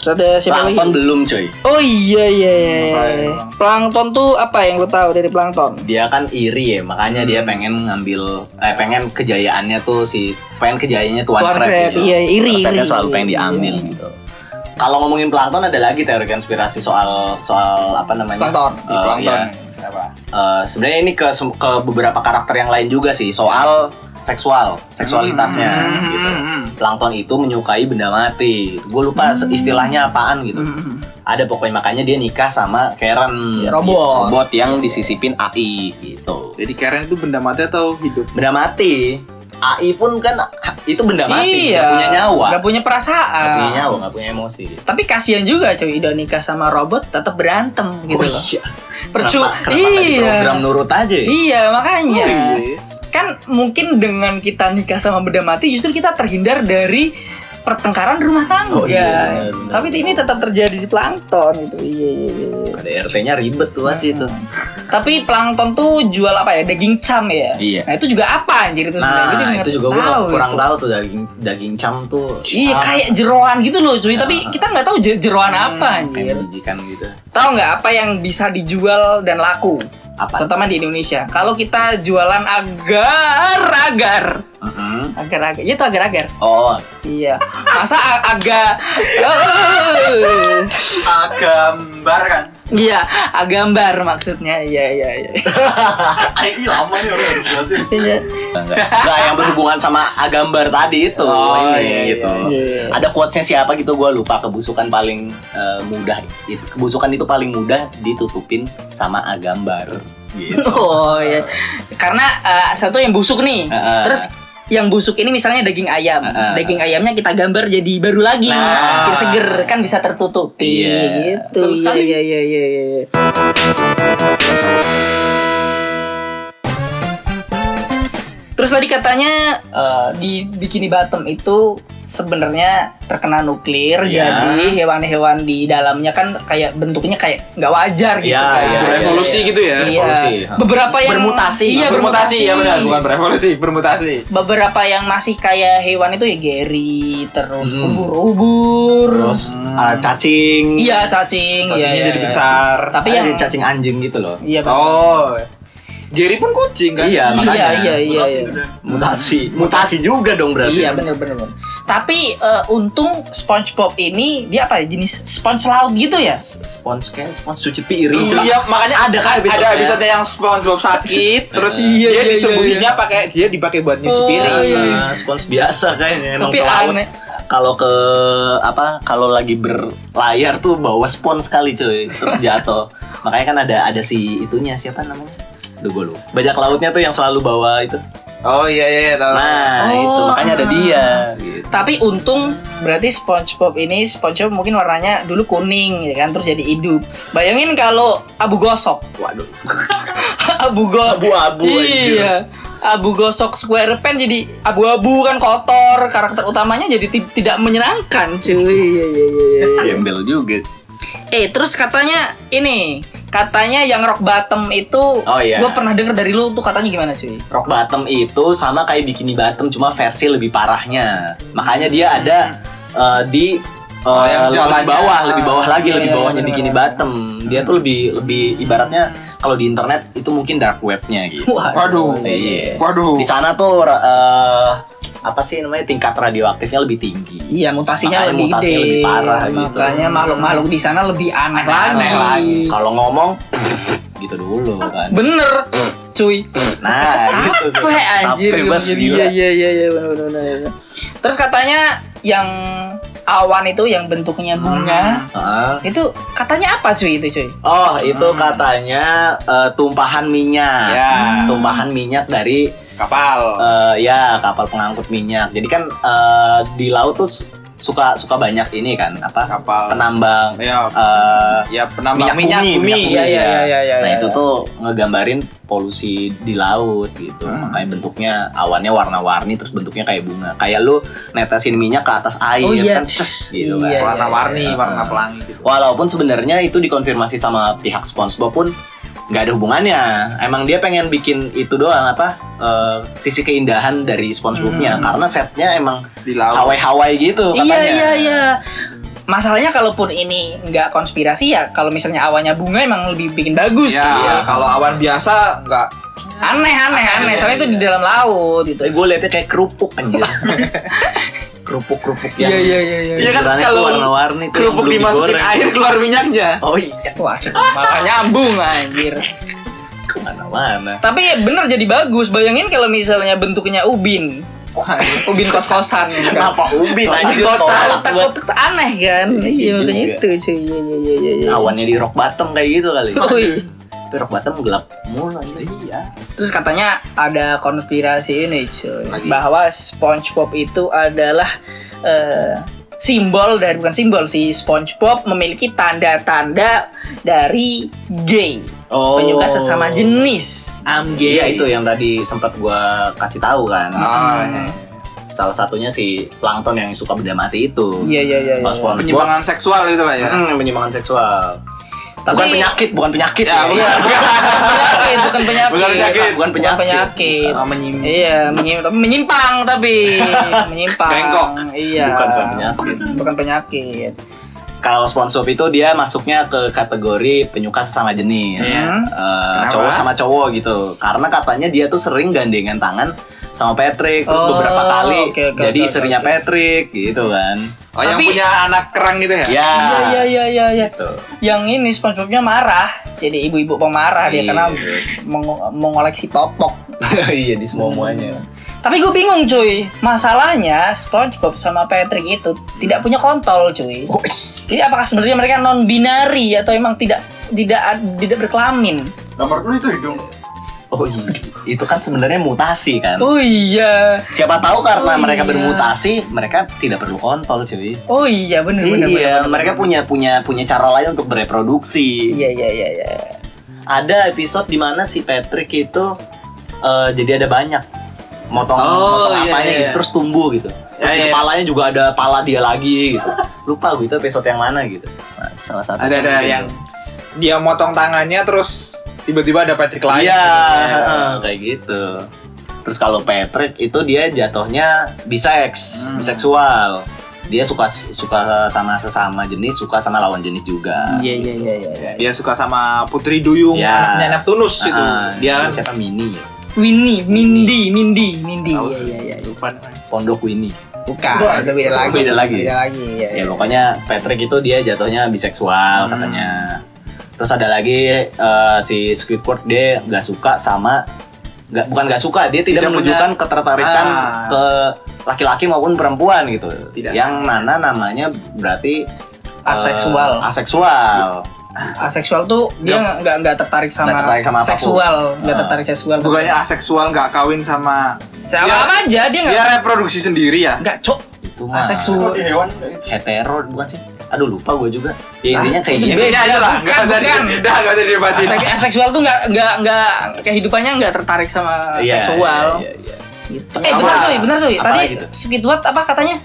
[SPEAKER 1] Terus ada siapa lagi?
[SPEAKER 2] plankton belum coy
[SPEAKER 1] Oh iya iya. iya,
[SPEAKER 3] Apa
[SPEAKER 1] iya.
[SPEAKER 3] ya?
[SPEAKER 1] Plankton tuh apa yang lo tahu dari plankton?
[SPEAKER 2] dia kan iri ya makanya dia
[SPEAKER 1] Hmm.
[SPEAKER 2] pengen ngambil eh pengen kejayaannya tuh si pengen kejayaannya tuan,
[SPEAKER 1] Tuan
[SPEAKER 2] crab,
[SPEAKER 1] Crab,
[SPEAKER 2] gitu.
[SPEAKER 1] iya, iri,
[SPEAKER 2] Resepnya
[SPEAKER 1] iri,
[SPEAKER 2] selalu
[SPEAKER 1] iri,
[SPEAKER 2] pengen
[SPEAKER 1] iya.
[SPEAKER 2] diambil gitu kalau ngomongin plankton ada lagi teori konspirasi soal soal apa namanya
[SPEAKER 1] Plankton.
[SPEAKER 2] Eh,
[SPEAKER 3] Di plankton.
[SPEAKER 2] iya.
[SPEAKER 3] Apa?
[SPEAKER 2] Eh, sebenarnya ini ke sem- ke beberapa karakter yang lain juga sih soal seksual seksualitasnya
[SPEAKER 3] Hmm,
[SPEAKER 1] Hmm,
[SPEAKER 2] gitu plankton itu menyukai benda mati gue lupa
[SPEAKER 1] Hmm.
[SPEAKER 2] se- istilahnya
[SPEAKER 1] Mm-hmm.
[SPEAKER 2] apaan gitu ada pokoknya makanya dia nikah sama Karen Gitu.
[SPEAKER 1] Ya, robot.
[SPEAKER 2] robot yang disisipin AI gitu
[SPEAKER 3] Jadi Karen itu benda mati atau hidup?
[SPEAKER 2] benda mati AI pun kan ha- itu benda mati nggak punya nyawa
[SPEAKER 1] Gak Iya, punya perasaan.
[SPEAKER 2] nggak punya nyawa nggak punya emosi gitu.
[SPEAKER 1] Tapi kasihan juga cuy, udah nikah sama robot tetap berantem gitu
[SPEAKER 2] Oh,
[SPEAKER 1] loh.
[SPEAKER 2] iya.
[SPEAKER 1] Percuma.
[SPEAKER 2] Kenapa- kenapa nggak
[SPEAKER 1] Iya.
[SPEAKER 2] diprogram nurut aja ya?
[SPEAKER 1] Iya, makanya.
[SPEAKER 3] Oh, iya.
[SPEAKER 1] Kan mungkin dengan kita nikah sama benda mati justru kita terhindar dari pertengkaran rumah tangga.
[SPEAKER 2] Oh, iya, benar, benar.
[SPEAKER 1] Tapi ini tetap terjadi di plankton itu. Iya, iya, iya.
[SPEAKER 2] Ada RT-nya ribet tuh pasti itu.
[SPEAKER 1] Tapi plankton tuh jual apa ya? Daging cam ya.
[SPEAKER 3] Iya.
[SPEAKER 1] Nah, itu juga apa anjir itu sebenarnya? Gua
[SPEAKER 2] Nah,
[SPEAKER 1] nggak
[SPEAKER 2] itu juga gue kurang
[SPEAKER 1] itu.
[SPEAKER 2] tahu tuh daging daging cam tuh.
[SPEAKER 1] Iya
[SPEAKER 2] ah,
[SPEAKER 1] kayak Hmm, iya. jeroan gitu loh cuy, tapi
[SPEAKER 2] Ah.
[SPEAKER 1] kita nggak tahu je- jeroan apa
[SPEAKER 2] kayak
[SPEAKER 1] anjir.
[SPEAKER 2] jijikan gitu.
[SPEAKER 1] Tahu nggak apa yang bisa dijual dan laku,
[SPEAKER 2] Apa?
[SPEAKER 1] terutama di Indonesia. Kalau kita jualan agar agar
[SPEAKER 2] Mm-mm.
[SPEAKER 1] agar agar, Iya, itu agar agar.
[SPEAKER 2] Oh,
[SPEAKER 1] Iya. Masa a- agak
[SPEAKER 4] Agambar kan.
[SPEAKER 1] Iya, agambar maksudnya. Iya, iya, iya.
[SPEAKER 4] Ah, Ini lama nih orang harus jelasin.
[SPEAKER 1] Iya.
[SPEAKER 2] Enggak yang berhubungan sama agambar tadi itu
[SPEAKER 3] Oh,
[SPEAKER 2] ini
[SPEAKER 3] iya,
[SPEAKER 2] gitu.
[SPEAKER 1] Iya.
[SPEAKER 2] Ada quotesnya siapa gitu gue lupa kebusukan paling eh, mudah itu kebusukan itu paling mudah ditutupin sama agambar gitu.
[SPEAKER 1] Oh iya. Karena eh, satu yang busuk nih.
[SPEAKER 2] Heeh.
[SPEAKER 1] Terus yang busuk ini misalnya daging ayam.
[SPEAKER 2] Heeh.
[SPEAKER 1] Daging ayamnya kita gambar jadi baru lagi.
[SPEAKER 2] Nah.
[SPEAKER 1] Biar seger kan bisa tertutupi
[SPEAKER 2] Iya.
[SPEAKER 1] gitu.
[SPEAKER 4] Betul
[SPEAKER 1] Iya
[SPEAKER 4] sekali.
[SPEAKER 1] iya iya iya iya. Terus tadi katanya eh, di Bikini Bottom itu sebenarnya terkena nuklir,
[SPEAKER 2] Iya.
[SPEAKER 1] jadi hewan-hewan di dalamnya kan kayak bentuknya kayak nggak wajar gitu
[SPEAKER 2] Iya,
[SPEAKER 1] kan.
[SPEAKER 2] iya, iya,
[SPEAKER 3] Berevolusi gitu ya.
[SPEAKER 1] Iya.
[SPEAKER 2] Evolusi.
[SPEAKER 1] Beberapa yang
[SPEAKER 2] Bermutasi.
[SPEAKER 1] Iya, bermutasi.
[SPEAKER 3] ya benar, Iya, bukan berevolusi, bermutasi.
[SPEAKER 1] Beberapa yang masih kayak hewan itu ya Gary, terus
[SPEAKER 2] Hmm.
[SPEAKER 1] ubur-ubur.
[SPEAKER 2] Terus ah, cacing.
[SPEAKER 1] Iya, cacing, iya,
[SPEAKER 3] Tadinya
[SPEAKER 1] iya.
[SPEAKER 3] jadi
[SPEAKER 1] iya.
[SPEAKER 3] besar.
[SPEAKER 1] Tapi
[SPEAKER 2] Ada
[SPEAKER 1] yang
[SPEAKER 2] cacing anjing gitu loh.
[SPEAKER 1] Iya, Bang.
[SPEAKER 3] Oh. Gary pun kucing kan?
[SPEAKER 2] Iya,
[SPEAKER 1] iya,
[SPEAKER 2] makanya.
[SPEAKER 1] iya, iya,
[SPEAKER 4] Mutasi
[SPEAKER 1] iya.
[SPEAKER 4] udah.
[SPEAKER 2] Mutasi, mutasi juga dong berarti.
[SPEAKER 1] Iya, bener bener. bener. Tapi eh, untung SpongeBob ini dia apa ya jenis sponge laut gitu ya?
[SPEAKER 2] Spons kayak spons cuci piring.
[SPEAKER 3] Iya, makanya ada kan
[SPEAKER 2] episode-nya.
[SPEAKER 3] ada episode yang SpongeBob sakit, terus
[SPEAKER 1] Iya,
[SPEAKER 3] dia
[SPEAKER 1] iya, iya,
[SPEAKER 3] disembuhinnya pakai dia dipakai buat nyuci
[SPEAKER 1] Oh,
[SPEAKER 3] piring.
[SPEAKER 1] iya.
[SPEAKER 2] Nah, spons biasa kayaknya emang
[SPEAKER 1] Tapi
[SPEAKER 2] ke laut.
[SPEAKER 1] aneh.
[SPEAKER 2] Kalau ke apa kalau lagi berlayar tuh bawa spons sekali cuy terus jatuh. Makanya kan ada ada si itunya siapa namanya? Aduh gue lupa. Bajak lautnya tuh yang selalu bawa itu.
[SPEAKER 3] Oh iya iya, iya, tahu.
[SPEAKER 2] Nah,
[SPEAKER 1] Oh,
[SPEAKER 2] itu makanya ada
[SPEAKER 1] ah.
[SPEAKER 2] dia. Gitu.
[SPEAKER 1] Tapi untung berarti SpongeBob ini SpongeBob mungkin warnanya dulu kuning ya kan terus jadi hidup. Bayangin kalau abu gosok.
[SPEAKER 2] Waduh,
[SPEAKER 1] abu go
[SPEAKER 2] abu-abu anjir.
[SPEAKER 1] iya abu gosok square pen jadi abu-abu kan kotor karakter utamanya jadi ti- tidak menyenangkan cuy Iya, iya, iya, iya.
[SPEAKER 2] Gembel juga.
[SPEAKER 1] eh terus katanya ini katanya yang rock bottom itu
[SPEAKER 2] Oh, iya.
[SPEAKER 1] gue pernah denger dari lu tuh katanya gimana cuy
[SPEAKER 2] Rock bottom itu sama kayak bikini bottom cuma versi lebih parahnya. Makanya dia ada eh, di eh,
[SPEAKER 3] Oh, yang
[SPEAKER 2] lebih
[SPEAKER 3] jalannya.
[SPEAKER 2] bawah, lebih bawah lagi,
[SPEAKER 1] Iya,
[SPEAKER 2] lebih
[SPEAKER 1] iya,
[SPEAKER 2] bawahnya
[SPEAKER 1] bener,
[SPEAKER 2] bikini
[SPEAKER 1] bener.
[SPEAKER 2] bottom. Dia tuh lebih lebih ibaratnya kalau di internet itu mungkin dark webnya gitu.
[SPEAKER 3] Waduh.
[SPEAKER 2] Iya.
[SPEAKER 3] Waduh.
[SPEAKER 2] Di sana tuh ra- eh, apa sih namanya tingkat radioaktifnya lebih tinggi.
[SPEAKER 1] Iya mutasinya
[SPEAKER 2] Makanya
[SPEAKER 1] lebih
[SPEAKER 2] mutasinya
[SPEAKER 1] gede.
[SPEAKER 2] lebih parah gitu.
[SPEAKER 1] Makanya makhluk-makhluk di sana lebih aneh,
[SPEAKER 2] Aneh
[SPEAKER 1] lagi.
[SPEAKER 2] lagi. Nah, Kalau ngomong gitu dulu kan.
[SPEAKER 1] Bener, cuy.
[SPEAKER 2] Nah, gitu.
[SPEAKER 1] apa anjir
[SPEAKER 2] Capek banget, gila.
[SPEAKER 1] iya iya iya iya benar benar, benar benar. terus katanya yang awan itu yang bentuknya
[SPEAKER 2] Hmm.
[SPEAKER 1] bunga
[SPEAKER 2] Heeh.
[SPEAKER 1] itu katanya apa cuy itu cuy
[SPEAKER 2] Oh, itu
[SPEAKER 1] Hmm.
[SPEAKER 2] katanya eh, tumpahan minyak.
[SPEAKER 3] Ya.
[SPEAKER 2] Tumpahan minyak dari
[SPEAKER 3] Kapal.
[SPEAKER 1] Oh.
[SPEAKER 2] eh, ya kapal pengangkut minyak. Jadi kan eh, di laut tuh s- suka suka banyak ini kan apa?
[SPEAKER 3] Kapal.
[SPEAKER 1] Oh.
[SPEAKER 2] Penambang
[SPEAKER 3] Ya,
[SPEAKER 2] eh,
[SPEAKER 3] ya penambang
[SPEAKER 2] minyak, bumi, minyak bumi.
[SPEAKER 1] Iya, iya, iya, iya,
[SPEAKER 2] Nah,
[SPEAKER 1] iya,
[SPEAKER 2] itu
[SPEAKER 1] iya.
[SPEAKER 2] tuh ngegambarin polusi di laut gitu.
[SPEAKER 3] Hmm.
[SPEAKER 2] Makanya bentuknya awannya warna-warni terus bentuknya kayak bunga. Kayak lu netesin minyak ke atas air
[SPEAKER 1] Oh, iya.
[SPEAKER 2] kan ces,
[SPEAKER 1] Iya,
[SPEAKER 2] gitu kan.
[SPEAKER 1] iya.
[SPEAKER 3] Warna-warni,
[SPEAKER 2] Iya.
[SPEAKER 3] warna pelangi gitu.
[SPEAKER 2] Walaupun sebenarnya itu dikonfirmasi sama pihak SpongeBob pun nggak ada hubungannya. Emang dia pengen bikin itu doang apa eh, sisi keindahan dari SpongeBobnya
[SPEAKER 1] Hmm.
[SPEAKER 2] karena setnya emang
[SPEAKER 3] Di laut.
[SPEAKER 2] Hawaii-Hawaii gitu
[SPEAKER 1] iya
[SPEAKER 2] katanya.
[SPEAKER 1] iya iya masalahnya kalaupun ini nggak konspirasi ya kalau misalnya awannya bunga emang lebih bikin bagus Iya.
[SPEAKER 3] Ya, kalau awan biasa enggak
[SPEAKER 1] aneh aneh aneh soalnya
[SPEAKER 2] iya.
[SPEAKER 1] itu di dalam laut gitu
[SPEAKER 2] Tapi gue liatnya kayak kerupuk anjir. Kerupuk-kerupuk yang
[SPEAKER 1] iya
[SPEAKER 3] Iya kan,
[SPEAKER 2] ukurannya tuh
[SPEAKER 3] kalau
[SPEAKER 2] warna-warni tuh yang
[SPEAKER 3] kerupuk
[SPEAKER 2] belum
[SPEAKER 3] dimasukin
[SPEAKER 2] digoreng.
[SPEAKER 3] air keluar minyaknya.
[SPEAKER 2] Oh iya,
[SPEAKER 1] Waduh, malah nyambung anjir.
[SPEAKER 2] kemana-mana.
[SPEAKER 1] Tapi bener jadi bagus. Bayangin kalau misalnya bentuknya ubin, ubin kos-kosan. gitu kan.
[SPEAKER 2] Kenapa ubin anjir?
[SPEAKER 1] Tolak
[SPEAKER 2] Tolak buat
[SPEAKER 1] takut aneh kan
[SPEAKER 2] Iya
[SPEAKER 1] iya makanya
[SPEAKER 2] juga.
[SPEAKER 1] itu cuy iya iya iya iya iya
[SPEAKER 2] awannya di rock bottom kayak gitu kali.
[SPEAKER 1] Oh, iya.
[SPEAKER 2] Tapi rock bottom gelap mulu anjir. Iya.
[SPEAKER 1] terus katanya ada konspirasi ini cuy
[SPEAKER 3] Lagi.
[SPEAKER 1] bahwa SpongeBob itu adalah eh, simbol dari bukan simbol sih SpongeBob memiliki tanda-tanda dari gay
[SPEAKER 2] Oh.
[SPEAKER 1] penyuka sesama jenis
[SPEAKER 2] ya, Am Iya itu yang tadi sempat gua kasih tahu kan.
[SPEAKER 1] Ah, iya.
[SPEAKER 2] salah satunya si plankton yang suka benda mati itu
[SPEAKER 1] Iya iya iya.
[SPEAKER 2] Pas
[SPEAKER 1] iya.
[SPEAKER 2] pon-
[SPEAKER 3] penyimpangan seksual gitu lah ya
[SPEAKER 2] Mm, penyimpangan seksual
[SPEAKER 1] Tapi-
[SPEAKER 2] bukan penyakit bukan penyakit
[SPEAKER 3] Ya, bukan.
[SPEAKER 2] Iya,
[SPEAKER 1] Penyakit, bukan penyakit.
[SPEAKER 3] Bukan penyakit.
[SPEAKER 2] bukan penyakit,
[SPEAKER 1] penyakit.
[SPEAKER 2] Ah, menyim-
[SPEAKER 1] Iya, menyim- tapi menyimpang tapi menyimpang.
[SPEAKER 3] Bengkok.
[SPEAKER 1] Iya.
[SPEAKER 2] Bukan, bukan penyakit.
[SPEAKER 1] Bukan penyakit.
[SPEAKER 2] Kalau sponsor itu dia masuknya ke kategori penyuka sesama jenis.
[SPEAKER 1] Iya.
[SPEAKER 2] Eh,
[SPEAKER 3] Kenapa?
[SPEAKER 2] cowok sama cowok gitu. Karena katanya dia tuh sering gandengan tangan sama Patrick terus
[SPEAKER 1] Oh,
[SPEAKER 2] beberapa kali.
[SPEAKER 1] oke, oke,
[SPEAKER 2] jadi
[SPEAKER 1] oke,
[SPEAKER 2] istrinya
[SPEAKER 1] oke.
[SPEAKER 2] Patrick gitu kan.
[SPEAKER 3] oh yang
[SPEAKER 1] Tapi-
[SPEAKER 3] punya anak kerang gitu
[SPEAKER 2] Ya.
[SPEAKER 3] ya
[SPEAKER 1] Iya iya iya iya. iya.
[SPEAKER 2] Gitu.
[SPEAKER 1] Yang ini SpongeBobnya marah. Jadi ibu-ibu pemarah dia
[SPEAKER 2] Iya.
[SPEAKER 1] karena meng- mengoleksi popok.
[SPEAKER 2] iya di
[SPEAKER 1] Hmm.
[SPEAKER 2] semua muanya.
[SPEAKER 1] Tapi gue bingung cuy, masalahnya SpongeBob sama Patrick itu tidak punya kontol cuy.
[SPEAKER 2] Oh.
[SPEAKER 1] Jadi apakah sebenarnya mereka non binary atau emang tidak tidak tidak berkelamin?
[SPEAKER 4] Nomor lu itu hidung.
[SPEAKER 2] Oh iya. Itu kan sebenarnya mutasi kan.
[SPEAKER 1] Oh iya,
[SPEAKER 2] Siapa tahu karena
[SPEAKER 1] Oh,
[SPEAKER 2] mereka
[SPEAKER 1] iya.
[SPEAKER 2] bermutasi, mereka tidak perlu kontol cuy.
[SPEAKER 1] oh iya benar benar.
[SPEAKER 2] iya, mereka punya punya punya cara lain untuk bereproduksi.
[SPEAKER 1] Iya iya iya. iya.
[SPEAKER 2] ada episode di mana si Patrick itu eh, jadi ada banyak motong
[SPEAKER 3] Oh,
[SPEAKER 2] motong
[SPEAKER 3] iya,
[SPEAKER 2] apanya
[SPEAKER 3] iya.
[SPEAKER 2] gitu terus tumbuh gitu
[SPEAKER 1] Ya,
[SPEAKER 2] terus
[SPEAKER 3] Iya,
[SPEAKER 2] di
[SPEAKER 3] iya.
[SPEAKER 2] kepalanya juga ada pala dia lagi gitu lupa gue itu episode yang mana gitu nah, itu salah satu
[SPEAKER 3] ada ada yang dia motong tangannya terus tiba-tiba ada Patrick lain
[SPEAKER 2] iya
[SPEAKER 3] gitu ya.
[SPEAKER 2] heeh, kayak gitu terus kalau Patrick itu dia jatuhnya biseks
[SPEAKER 3] Hmm.
[SPEAKER 2] biseksual dia suka suka sama sesama jenis suka sama lawan jenis juga
[SPEAKER 1] Iya iya iya iya. iya.
[SPEAKER 3] dia suka sama Putri Duyung
[SPEAKER 2] Ya.
[SPEAKER 3] anaknya Neptunus itu
[SPEAKER 2] Ah,
[SPEAKER 3] dia kan
[SPEAKER 2] siapa Mini ya?
[SPEAKER 1] Winnie, Mindy, Mindy, Mindy.
[SPEAKER 2] Oh,
[SPEAKER 3] Tahu.
[SPEAKER 1] Iya iya iya.
[SPEAKER 3] lupa namanya.
[SPEAKER 2] Pondok Winnie.
[SPEAKER 1] Bukan,
[SPEAKER 4] Wah,
[SPEAKER 1] udah beda lagi.
[SPEAKER 2] beda lagi.
[SPEAKER 1] Beda lagi. Iya.
[SPEAKER 2] ya pokoknya Patrick itu dia jatuhnya biseksual
[SPEAKER 3] Hmm.
[SPEAKER 2] katanya terus ada lagi eh, si Squidward dia nggak suka sama nggak bukan nggak suka dia tidak,
[SPEAKER 3] Tidak punya-
[SPEAKER 2] menunjukkan ketertarikan
[SPEAKER 3] Ah.
[SPEAKER 2] ke laki-laki maupun perempuan gitu
[SPEAKER 3] Tidak.
[SPEAKER 2] yang mana namanya berarti eh,
[SPEAKER 1] Aseksual.
[SPEAKER 2] aseksual
[SPEAKER 1] Aseksual tuh dia nggak nggak tertarik sama,
[SPEAKER 2] iya. Nggak tertarik sama apapun.
[SPEAKER 1] seksual, nggak
[SPEAKER 2] Ah.
[SPEAKER 1] tertarik seksual.
[SPEAKER 3] bukannya aseksual nggak kawin sama
[SPEAKER 1] Sama
[SPEAKER 2] Iya.
[SPEAKER 3] Dia-
[SPEAKER 1] apa aja dia nggak
[SPEAKER 3] dia reproduksi sendiri ya
[SPEAKER 1] nggak cok
[SPEAKER 2] itu mah
[SPEAKER 1] aseksual.
[SPEAKER 4] Kalau di hewan kayak gitu.
[SPEAKER 2] hetero bukan sih aduh lupa gue juga ya intinya kayak
[SPEAKER 1] itu
[SPEAKER 2] gitu
[SPEAKER 1] beda.
[SPEAKER 3] Iya, nggak usah
[SPEAKER 1] bukan.
[SPEAKER 3] di- dah nggak usah
[SPEAKER 2] Iya.
[SPEAKER 3] dibatin
[SPEAKER 1] Asek- aseksual tuh nggak nggak nggak kehidupannya nggak tertarik sama
[SPEAKER 2] Iya,
[SPEAKER 1] seksual.
[SPEAKER 2] iya, iya, iya.
[SPEAKER 1] Gitu. Eh
[SPEAKER 3] Sama.
[SPEAKER 1] benar Soy, benar Soy.
[SPEAKER 2] Apa
[SPEAKER 1] Tadi
[SPEAKER 2] lagi tuh?
[SPEAKER 1] Squidward apa katanya?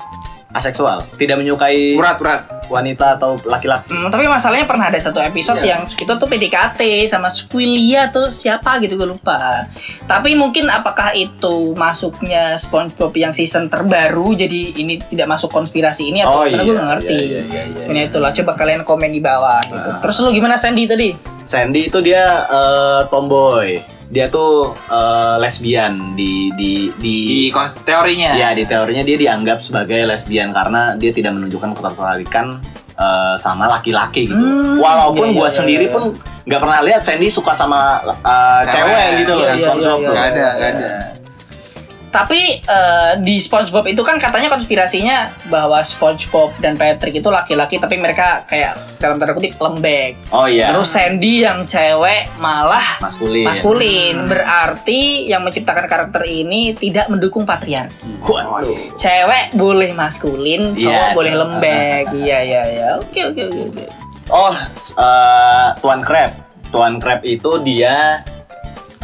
[SPEAKER 2] aseksual tidak menyukai
[SPEAKER 3] urat urat
[SPEAKER 2] wanita atau laki-laki
[SPEAKER 1] Hmm, tapi masalahnya pernah ada satu episode
[SPEAKER 2] Iya.
[SPEAKER 1] yang Squidward tuh PDKT sama Squilia tuh siapa gitu gue lupa. Tapi mungkin apakah itu masuknya SpongeBob yang season terbaru jadi ini tidak masuk konspirasi ini atau karena gue nggak ngerti.
[SPEAKER 2] Oh, iya, iya, iya,
[SPEAKER 1] Ini
[SPEAKER 2] iya.
[SPEAKER 1] itulah coba kalian komen di bawah gitu.
[SPEAKER 2] Ah.
[SPEAKER 1] Terus lu gimana Sandy tadi?
[SPEAKER 2] Sandy itu dia eh, tomboy. Dia tuh eh, lesbian di di di,
[SPEAKER 3] di kons-
[SPEAKER 1] Iya.
[SPEAKER 3] teorinya
[SPEAKER 2] ya di teorinya dia dianggap sebagai lesbian karena dia tidak menunjukkan ketertarikan eh, sama laki-laki gitu.
[SPEAKER 1] Hmm,
[SPEAKER 2] Walaupun
[SPEAKER 1] iya,
[SPEAKER 2] gua
[SPEAKER 1] iya, iya,
[SPEAKER 2] sendiri
[SPEAKER 1] iya.
[SPEAKER 2] pun nggak pernah lihat Sandy suka sama eh,
[SPEAKER 3] Cewek.
[SPEAKER 2] cewek gitu loh
[SPEAKER 1] Iya,
[SPEAKER 2] yang
[SPEAKER 1] iya,
[SPEAKER 2] SpongeBob
[SPEAKER 1] iya,
[SPEAKER 2] tuh.
[SPEAKER 3] nggak ada nggak ada
[SPEAKER 1] Tapi eh, di SpongeBob itu kan katanya konspirasinya bahwa SpongeBob dan Patrick itu laki-laki tapi mereka kayak dalam tanda kutip lembek.
[SPEAKER 2] Oh iya.
[SPEAKER 1] Terus Sandy yang cewek malah
[SPEAKER 2] maskulin.
[SPEAKER 1] maskulin. Berarti yang menciptakan karakter ini tidak mendukung patriarki.
[SPEAKER 2] Waduh.
[SPEAKER 1] Cewek boleh maskulin, cowok
[SPEAKER 2] Iya,
[SPEAKER 1] boleh
[SPEAKER 2] cowok.
[SPEAKER 1] lembek. Iya iya iya. Oke oke oke. oke.
[SPEAKER 2] Oh, s- eh, Tuan Crab. Tuan Crab itu dia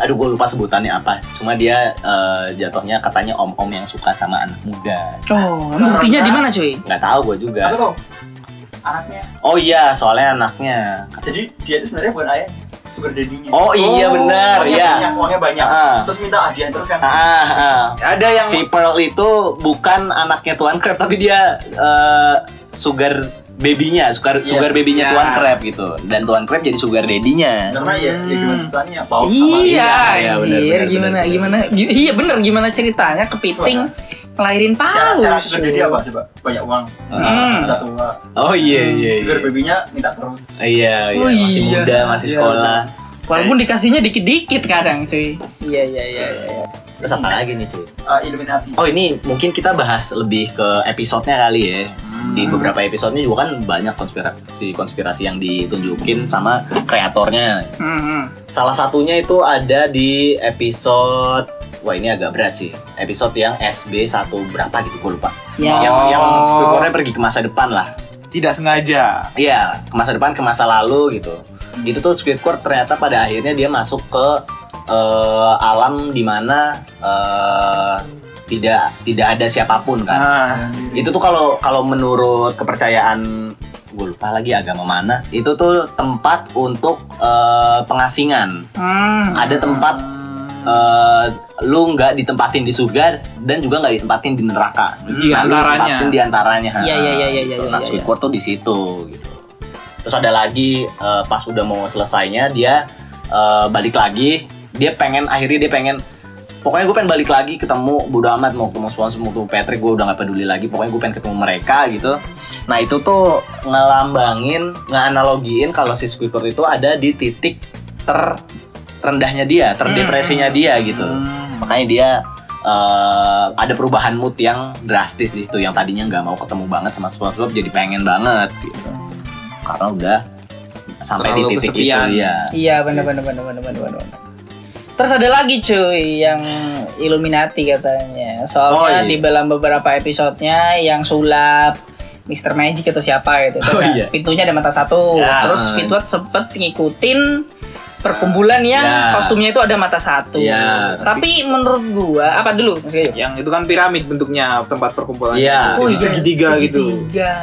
[SPEAKER 2] aduh gue lupa sebutannya apa. Cuma dia eh, jatuhnya katanya om-om yang suka sama anak muda.
[SPEAKER 1] Oh, buktinya di mana cuy?
[SPEAKER 2] Nggak tahu gue juga.
[SPEAKER 4] Aku tuh anaknya.
[SPEAKER 2] Oh iya, soalnya anaknya.
[SPEAKER 4] Jadi dia itu sebenarnya bukan ayah, sugar daddy-nya.
[SPEAKER 2] Oh iya benar,
[SPEAKER 4] uangnya
[SPEAKER 2] ya.
[SPEAKER 4] Banyak, uangnya banyak.
[SPEAKER 2] Ah.
[SPEAKER 4] Terus minta hadiah terus kan.
[SPEAKER 2] Ah, ah.
[SPEAKER 3] ada yang
[SPEAKER 2] Si Pearl itu bukan anaknya Tuan Crab tapi dia eh, sugar babynya, sugar
[SPEAKER 4] Iya.
[SPEAKER 2] sugar babynya
[SPEAKER 3] Iya.
[SPEAKER 2] Tuan Crab gitu. Dan Tuan Crab jadi sugar daddy-nya.
[SPEAKER 4] Karena ya, ya
[SPEAKER 3] Hmm.
[SPEAKER 4] gimana ceritanya, paus sama
[SPEAKER 1] Iya,
[SPEAKER 2] iya, benar,
[SPEAKER 1] anjir,
[SPEAKER 2] benar,
[SPEAKER 1] gimana,
[SPEAKER 2] benar,
[SPEAKER 1] gimana, gi- iya bener, gimana ceritanya kepiting ngelahirin
[SPEAKER 4] Cara
[SPEAKER 1] paus.
[SPEAKER 4] cara sugar daddy apa coba? Banyak uang.
[SPEAKER 1] Hmm.
[SPEAKER 4] Minta tua.
[SPEAKER 2] Oh iya iya.
[SPEAKER 4] Sugar
[SPEAKER 2] Iya,
[SPEAKER 4] baby-nya minta terus.
[SPEAKER 2] iya, iya.
[SPEAKER 1] Oh,
[SPEAKER 2] masih
[SPEAKER 1] iya.
[SPEAKER 2] muda, masih
[SPEAKER 3] Iya.
[SPEAKER 2] sekolah.
[SPEAKER 1] Walaupun dikasihnya dikit-dikit kadang, cuy. Iya, iya, iya, iya. iya.
[SPEAKER 2] Terus apa lagi nih, cuy?
[SPEAKER 4] Ah, Illuminati.
[SPEAKER 2] Oh ini mungkin kita bahas lebih ke episodenya kali ya. Di
[SPEAKER 4] Hmm.
[SPEAKER 2] beberapa episodenya juga kan banyak konspirasi-konspirasi yang ditunjukin sama kreatornya.
[SPEAKER 1] Hmm, hmm.
[SPEAKER 2] Salah satunya itu ada di episode Wah ini agak berat sih Episode yang SB1 berapa gitu gue lupa
[SPEAKER 1] Ya.
[SPEAKER 2] Yang,
[SPEAKER 3] Oh.
[SPEAKER 2] yang Squidwardnya pergi ke masa depan lah
[SPEAKER 3] tidak sengaja
[SPEAKER 2] Iya ke masa depan ke masa lalu gitu Itu tuh Squidward ternyata pada akhirnya dia masuk ke eh, alam dimana eh tidak tidak ada siapapun kan
[SPEAKER 3] Nah,
[SPEAKER 2] itu tuh kalau kalau menurut kepercayaan gue lupa lagi agama mana itu tuh tempat untuk eh, pengasingan
[SPEAKER 1] Hmm.
[SPEAKER 2] ada tempat eh, lu nggak ditempatin di surga dan juga nggak ditempatin di neraka
[SPEAKER 3] Di
[SPEAKER 2] Nah, lu
[SPEAKER 3] antaranya.
[SPEAKER 2] ditempatin di antaranya
[SPEAKER 1] Iya, iya, iya, iya,
[SPEAKER 2] gitu.
[SPEAKER 1] iya,
[SPEAKER 2] nah
[SPEAKER 1] iya,
[SPEAKER 2] Squidward tuh di situ gitu terus ada lagi eh, pas udah mau selesainya dia eh, balik lagi dia pengen akhirnya dia pengen pokoknya gue pengen balik lagi ketemu bodo amat mau ketemu Swan mau ketemu Patrick gue udah gak peduli lagi pokoknya gue pengen ketemu mereka gitu nah itu tuh ngelambangin ngeanalogiin kalau si Squidward itu ada di titik terrendahnya dia terdepresinya
[SPEAKER 3] Hmm.
[SPEAKER 2] dia gitu makanya dia eh, ada perubahan mood yang drastis di situ yang tadinya nggak mau ketemu banget sama SpongeBob jadi pengen banget gitu karena udah sampai
[SPEAKER 3] Terlalu
[SPEAKER 2] di titik
[SPEAKER 3] kesepian.
[SPEAKER 2] itu ya
[SPEAKER 1] Iya benar benar benar benar benar benar. benar. Terus ada lagi cuy yang Illuminati katanya. Soalnya
[SPEAKER 2] Oh, iya.
[SPEAKER 1] di dalam beberapa episodenya yang sulap Mr. Magic atau siapa gitu.
[SPEAKER 2] Oh,
[SPEAKER 1] Nah,
[SPEAKER 2] iya.
[SPEAKER 1] Pintunya ada mata satu.
[SPEAKER 2] Ya.
[SPEAKER 1] Terus Squidward sempet ngikutin perkumpulan yang
[SPEAKER 2] Ya.
[SPEAKER 1] kostumnya itu ada mata satu.
[SPEAKER 2] Ya.
[SPEAKER 1] Tapi menurut gua apa dulu Mas Gayo?
[SPEAKER 3] yang itu kan piramid bentuknya tempat perkumpulan.
[SPEAKER 2] Iya.
[SPEAKER 3] Itu.
[SPEAKER 2] Oh, iya,
[SPEAKER 3] segitiga gitu.
[SPEAKER 1] Segitiga.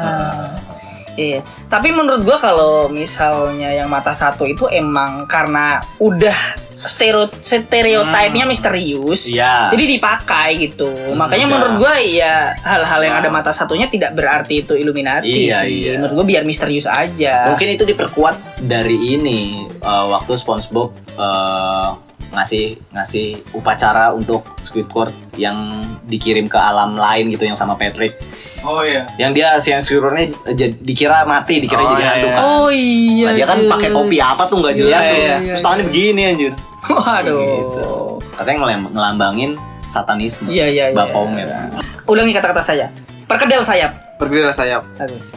[SPEAKER 1] Iya, tapi menurut gua kalau misalnya yang mata satu itu emang karena udah stereo stereotipnya misterius.
[SPEAKER 2] Hmm. iya
[SPEAKER 1] Jadi dipakai gitu. Makanya
[SPEAKER 2] Iya.
[SPEAKER 1] menurut gua ya hal-hal yang ada mata satunya tidak berarti itu Illuminati
[SPEAKER 2] Iya,
[SPEAKER 1] sih.
[SPEAKER 2] iya.
[SPEAKER 1] Menurut gua biar misterius aja.
[SPEAKER 2] mungkin itu diperkuat dari ini eh, waktu SpongeBob eh, ngasih ngasih upacara untuk Squidward yang dikirim ke alam lain gitu yang sama Patrick
[SPEAKER 4] Oh iya.
[SPEAKER 2] yang dia si yang Squidwardnya eh, jadi- dikira mati dikira
[SPEAKER 3] Oh,
[SPEAKER 2] jadi
[SPEAKER 3] iya,
[SPEAKER 2] hantu
[SPEAKER 3] iya.
[SPEAKER 2] kan
[SPEAKER 1] Oh iya.
[SPEAKER 2] Nah, dia kan
[SPEAKER 1] cuy.
[SPEAKER 2] pakai topi apa tuh nggak jelas
[SPEAKER 3] Iya,
[SPEAKER 2] tuh.
[SPEAKER 3] iya,
[SPEAKER 1] iya,
[SPEAKER 2] Terus tangannya begini anjir.
[SPEAKER 1] Waduh.
[SPEAKER 2] Gitu. Katanya ngelem- ngelambangin satanisme.
[SPEAKER 1] Iya iya iya.
[SPEAKER 2] Bapak Omer.
[SPEAKER 1] Ulangi kata-kata saya. Perkedel sayap.
[SPEAKER 3] Bergerak sayap.
[SPEAKER 1] Bagus.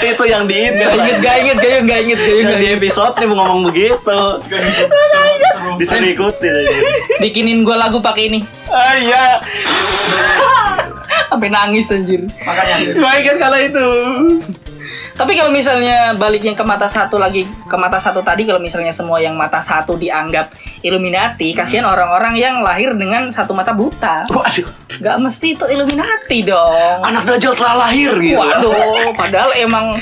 [SPEAKER 1] iya.
[SPEAKER 2] itu yang diingat.
[SPEAKER 1] Gak inget, gak inget, gak inget, gak inget, gak inget.
[SPEAKER 2] Yang di episode nih mau ngomong begitu. Bisa diikuti.
[SPEAKER 1] Bikinin gua lagu pakai ini.
[SPEAKER 2] Ah iya.
[SPEAKER 1] Sampai nangis anjir.
[SPEAKER 4] Makanya.
[SPEAKER 2] Gue ingat kan kalau itu.
[SPEAKER 1] Tapi kalau misalnya baliknya ke mata satu lagi ke mata satu tadi kalau misalnya semua yang mata satu dianggap Illuminati, kasihan orang-orang yang lahir dengan satu mata buta.
[SPEAKER 2] Waduh,
[SPEAKER 1] Gak mesti itu Illuminati dong.
[SPEAKER 2] anak Dajjal telah lahir gitu.
[SPEAKER 1] Waduh, padahal emang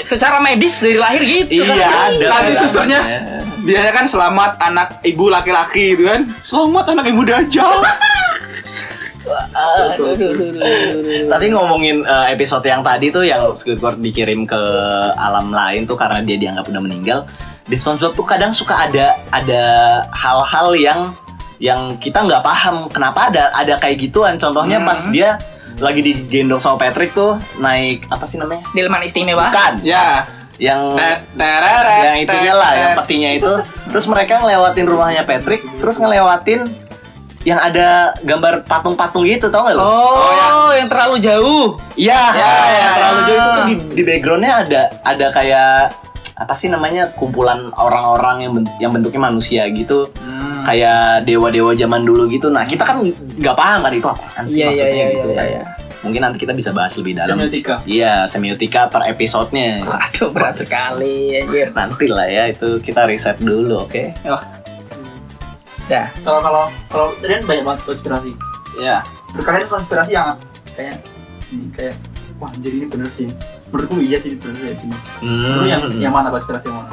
[SPEAKER 1] secara medis dari lahir gitu.
[SPEAKER 2] Iya,
[SPEAKER 1] kan?
[SPEAKER 2] ada.
[SPEAKER 3] Tadi susternya biasanya kan selamat anak ibu laki-laki gitu kan. Selamat anak ibu dajal.
[SPEAKER 1] Aduh, aduh, aduh, aduh, aduh.
[SPEAKER 2] Tapi ngomongin eh, episode yang tadi tuh yang Squidward dikirim ke alam lain tuh karena dia dianggap udah meninggal. Di SpongeBob tuh kadang suka ada ada hal-hal yang yang kita nggak paham kenapa ada ada kayak gituan. Contohnya
[SPEAKER 1] Hmm.
[SPEAKER 2] pas dia lagi digendong sama Patrick tuh naik apa sih namanya?
[SPEAKER 1] Delman istimewa.
[SPEAKER 2] Bukan.
[SPEAKER 3] Ya.
[SPEAKER 2] Yang
[SPEAKER 3] Te- tereret,
[SPEAKER 2] yang itunya lah,
[SPEAKER 3] te-
[SPEAKER 2] yang petinya itu. Terus mereka ngelewatin rumahnya Patrick, terus ngelewatin yang ada gambar patung-patung gitu tau nggak lu?
[SPEAKER 1] Oh,
[SPEAKER 2] ya.
[SPEAKER 1] yang terlalu jauh.
[SPEAKER 2] Iya,
[SPEAKER 3] Ya, ya,
[SPEAKER 2] terlalu
[SPEAKER 1] ya.
[SPEAKER 2] jauh itu tuh di, di backgroundnya ada ada kayak apa sih namanya kumpulan orang-orang yang ben- yang bentuknya manusia gitu
[SPEAKER 3] Hmm.
[SPEAKER 2] kayak dewa-dewa zaman dulu gitu. Nah kita kan nggak paham kan itu apaan
[SPEAKER 1] Iya, iya,
[SPEAKER 2] sih maksudnya
[SPEAKER 1] iya,
[SPEAKER 2] gitu
[SPEAKER 1] iya,
[SPEAKER 2] kan.
[SPEAKER 1] iya.
[SPEAKER 2] Mungkin nanti kita bisa bahas lebih dalam.
[SPEAKER 4] Semiotika.
[SPEAKER 2] Iya semiotika per episodenya.
[SPEAKER 1] Waduh, berat sekali ya, anjir.
[SPEAKER 2] Nanti lah ya itu kita riset dulu, oke?
[SPEAKER 1] Dah.
[SPEAKER 4] Kalau kalau kalau tadi kan banyak banget konspirasi.
[SPEAKER 2] Iya.
[SPEAKER 4] Berkalian konspirasi yang kayak ini kayak wah anjir ini bener sih. Menurutku iya sih ini bener sih. Ini.
[SPEAKER 2] Hmm.
[SPEAKER 4] Lu yang yang mana konspirasi yang mana?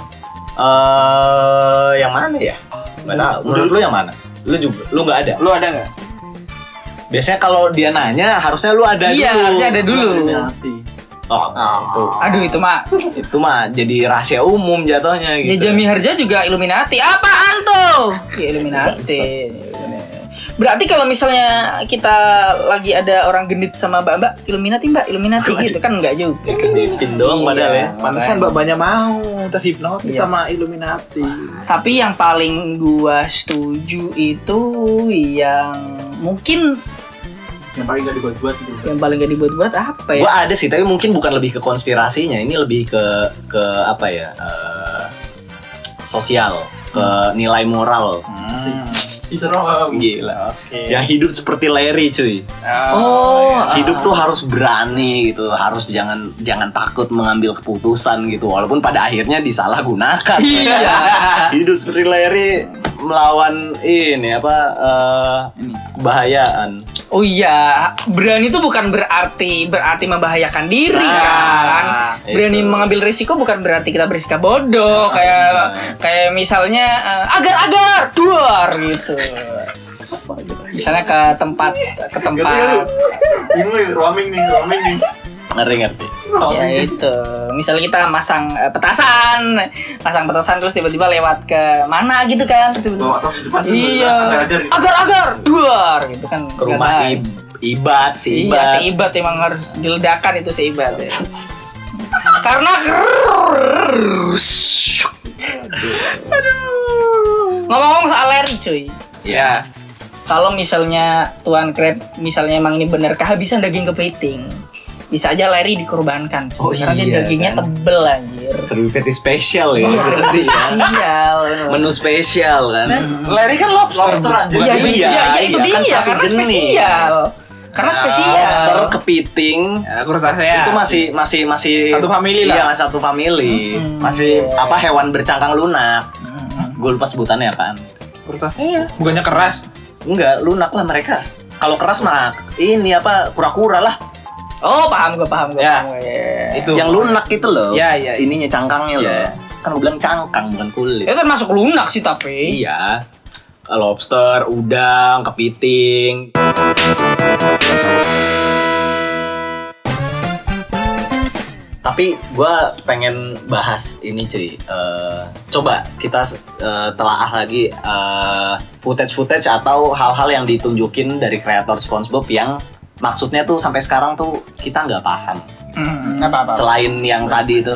[SPEAKER 2] Eh, yang mana ya? Gak tahu. Menurut lu yang mana? Lu juga, lu nggak ada.
[SPEAKER 3] Lu ada nggak?
[SPEAKER 2] Biasanya kalau dia nanya, harusnya lu ada
[SPEAKER 1] iya,
[SPEAKER 2] dulu.
[SPEAKER 1] harusnya ada dulu.
[SPEAKER 4] Illuminati.
[SPEAKER 2] Oh, itu.
[SPEAKER 1] Aduh itu mah
[SPEAKER 2] Itu mah jadi rahasia umum jatuhnya
[SPEAKER 1] Ya
[SPEAKER 2] gitu.
[SPEAKER 1] Jami Harja juga Illuminati. Apaan tuh? Ya Illuminati. Berarti kalau misalnya kita lagi ada orang genit sama Mbak Mbak, Illuminati Mbak, Illuminati
[SPEAKER 2] Waduh.
[SPEAKER 1] gitu kan enggak juga.
[SPEAKER 2] Kedipin doang padahal ya.
[SPEAKER 1] Iya.
[SPEAKER 3] Pantesan Mbak banyak mau terhipnotis
[SPEAKER 1] Iya.
[SPEAKER 3] sama Illuminati.
[SPEAKER 1] Tapi yang paling gua setuju itu yang mungkin
[SPEAKER 4] Yang paling gak dibuat-buat gitu.
[SPEAKER 1] yang paling gak dibuat-buat apa ya?
[SPEAKER 2] Gua ada sih, tapi mungkin bukan lebih ke konspirasinya. Ini lebih ke ke apa ya? eh, sosial, ke
[SPEAKER 1] Hmm.
[SPEAKER 2] nilai moral.
[SPEAKER 4] Bisa dong.
[SPEAKER 2] Gila.
[SPEAKER 3] Oke.
[SPEAKER 2] Yang hidup seperti Larry, cuy.
[SPEAKER 1] Oh,
[SPEAKER 3] iya.
[SPEAKER 1] ah.
[SPEAKER 2] hidup tuh harus berani gitu harus jangan jangan takut mengambil keputusan gitu walaupun pada akhirnya disalahgunakan
[SPEAKER 1] Iya.
[SPEAKER 2] hidup seperti Larry melawan ini apa eh,
[SPEAKER 4] ini
[SPEAKER 2] bahayaan.
[SPEAKER 1] Oh iya, berani itu bukan berarti berarti membahayakan diri kan.
[SPEAKER 3] Nah,
[SPEAKER 1] Berani
[SPEAKER 2] itu.
[SPEAKER 1] mengambil risiko bukan berarti kita bersikap bodoh kayak kayak misalnya eh, agar-agar duar gitu. Misalnya ke tempat ke tempat
[SPEAKER 4] ini roaming nih roaming nih
[SPEAKER 2] Ngerti ngerti.
[SPEAKER 1] ya
[SPEAKER 2] Iya,
[SPEAKER 4] roaming
[SPEAKER 1] itu. Misalnya kita masang eh, petasan, pasang petasan terus tiba-tiba lewat ke mana gitu kan? Terus tiba-tiba,
[SPEAKER 4] bawa tas di depan gitu.
[SPEAKER 1] Iya.
[SPEAKER 4] agar
[SPEAKER 1] Agar-agar duar gitu kan.
[SPEAKER 2] Ke rumah
[SPEAKER 1] Nggak tahu.
[SPEAKER 2] i- ibat
[SPEAKER 1] Iya,
[SPEAKER 2] si ibat.
[SPEAKER 1] seibat emang harus diledakan itu seibat ya. Karena Aduh. Ngomong-ngomong soal Larry cuy.
[SPEAKER 3] Ya.
[SPEAKER 1] Kalau misalnya Tuan Crab misalnya emang ini bener kehabisan daging kepiting, bisa aja Larry dikorbankan cuy.
[SPEAKER 2] Oh
[SPEAKER 1] Karena dia
[SPEAKER 2] iya,
[SPEAKER 1] dagingnya
[SPEAKER 2] kan?
[SPEAKER 1] tebel anjir.
[SPEAKER 2] Terlalu peti spesial ya.
[SPEAKER 1] Iya,
[SPEAKER 2] Berarti ya.
[SPEAKER 1] Sial.
[SPEAKER 2] Menu spesial kan.
[SPEAKER 1] Bener.
[SPEAKER 3] Larry kan lobster.
[SPEAKER 4] Lobster, anjir.
[SPEAKER 1] Iya,
[SPEAKER 2] Bukan
[SPEAKER 1] iya,
[SPEAKER 2] dia,
[SPEAKER 1] iya, itu
[SPEAKER 2] iya, kan
[SPEAKER 1] dia
[SPEAKER 2] satu
[SPEAKER 1] karena
[SPEAKER 2] jenis.
[SPEAKER 1] spesial. Karena
[SPEAKER 3] Nah,
[SPEAKER 1] spesial.
[SPEAKER 2] Lobster, kepiting,
[SPEAKER 3] Ya,
[SPEAKER 1] Iya.
[SPEAKER 3] krustacea.
[SPEAKER 2] itu masih masih masih
[SPEAKER 3] Satu family lah.
[SPEAKER 2] Iya, masih satu family.
[SPEAKER 1] Mm-mm.
[SPEAKER 2] Masih apa hewan bercangkang lunak.
[SPEAKER 1] Mm-hmm.
[SPEAKER 2] Gue lupa sebutannya kan.
[SPEAKER 3] krustacea. Bukannya keras.
[SPEAKER 2] Enggak, lunak lah mereka. Kalau keras mah ini apa kura-kura lah.
[SPEAKER 1] Oh, paham gue, paham gue.
[SPEAKER 3] Ya.
[SPEAKER 1] paham gue. Ya.
[SPEAKER 3] Itu.
[SPEAKER 2] Yang lunak itu loh.
[SPEAKER 3] Iya, iya.
[SPEAKER 2] Ininya cangkangnya
[SPEAKER 3] Iya.
[SPEAKER 2] loh. Kan gue bilang cangkang bukan kulit.
[SPEAKER 1] Itu termasuk lunak sih tapi.
[SPEAKER 2] Iya. Lobster, udang, kepiting. Tapi gue pengen bahas ini cuy. Eh, coba kita eh, telaah lagi eh, footage-footage atau hal-hal yang ditunjukin dari kreator SpongeBob yang maksudnya tuh sampai sekarang tuh kita nggak paham.
[SPEAKER 1] Hmm, apa-apa.
[SPEAKER 2] Selain yang tadi itu,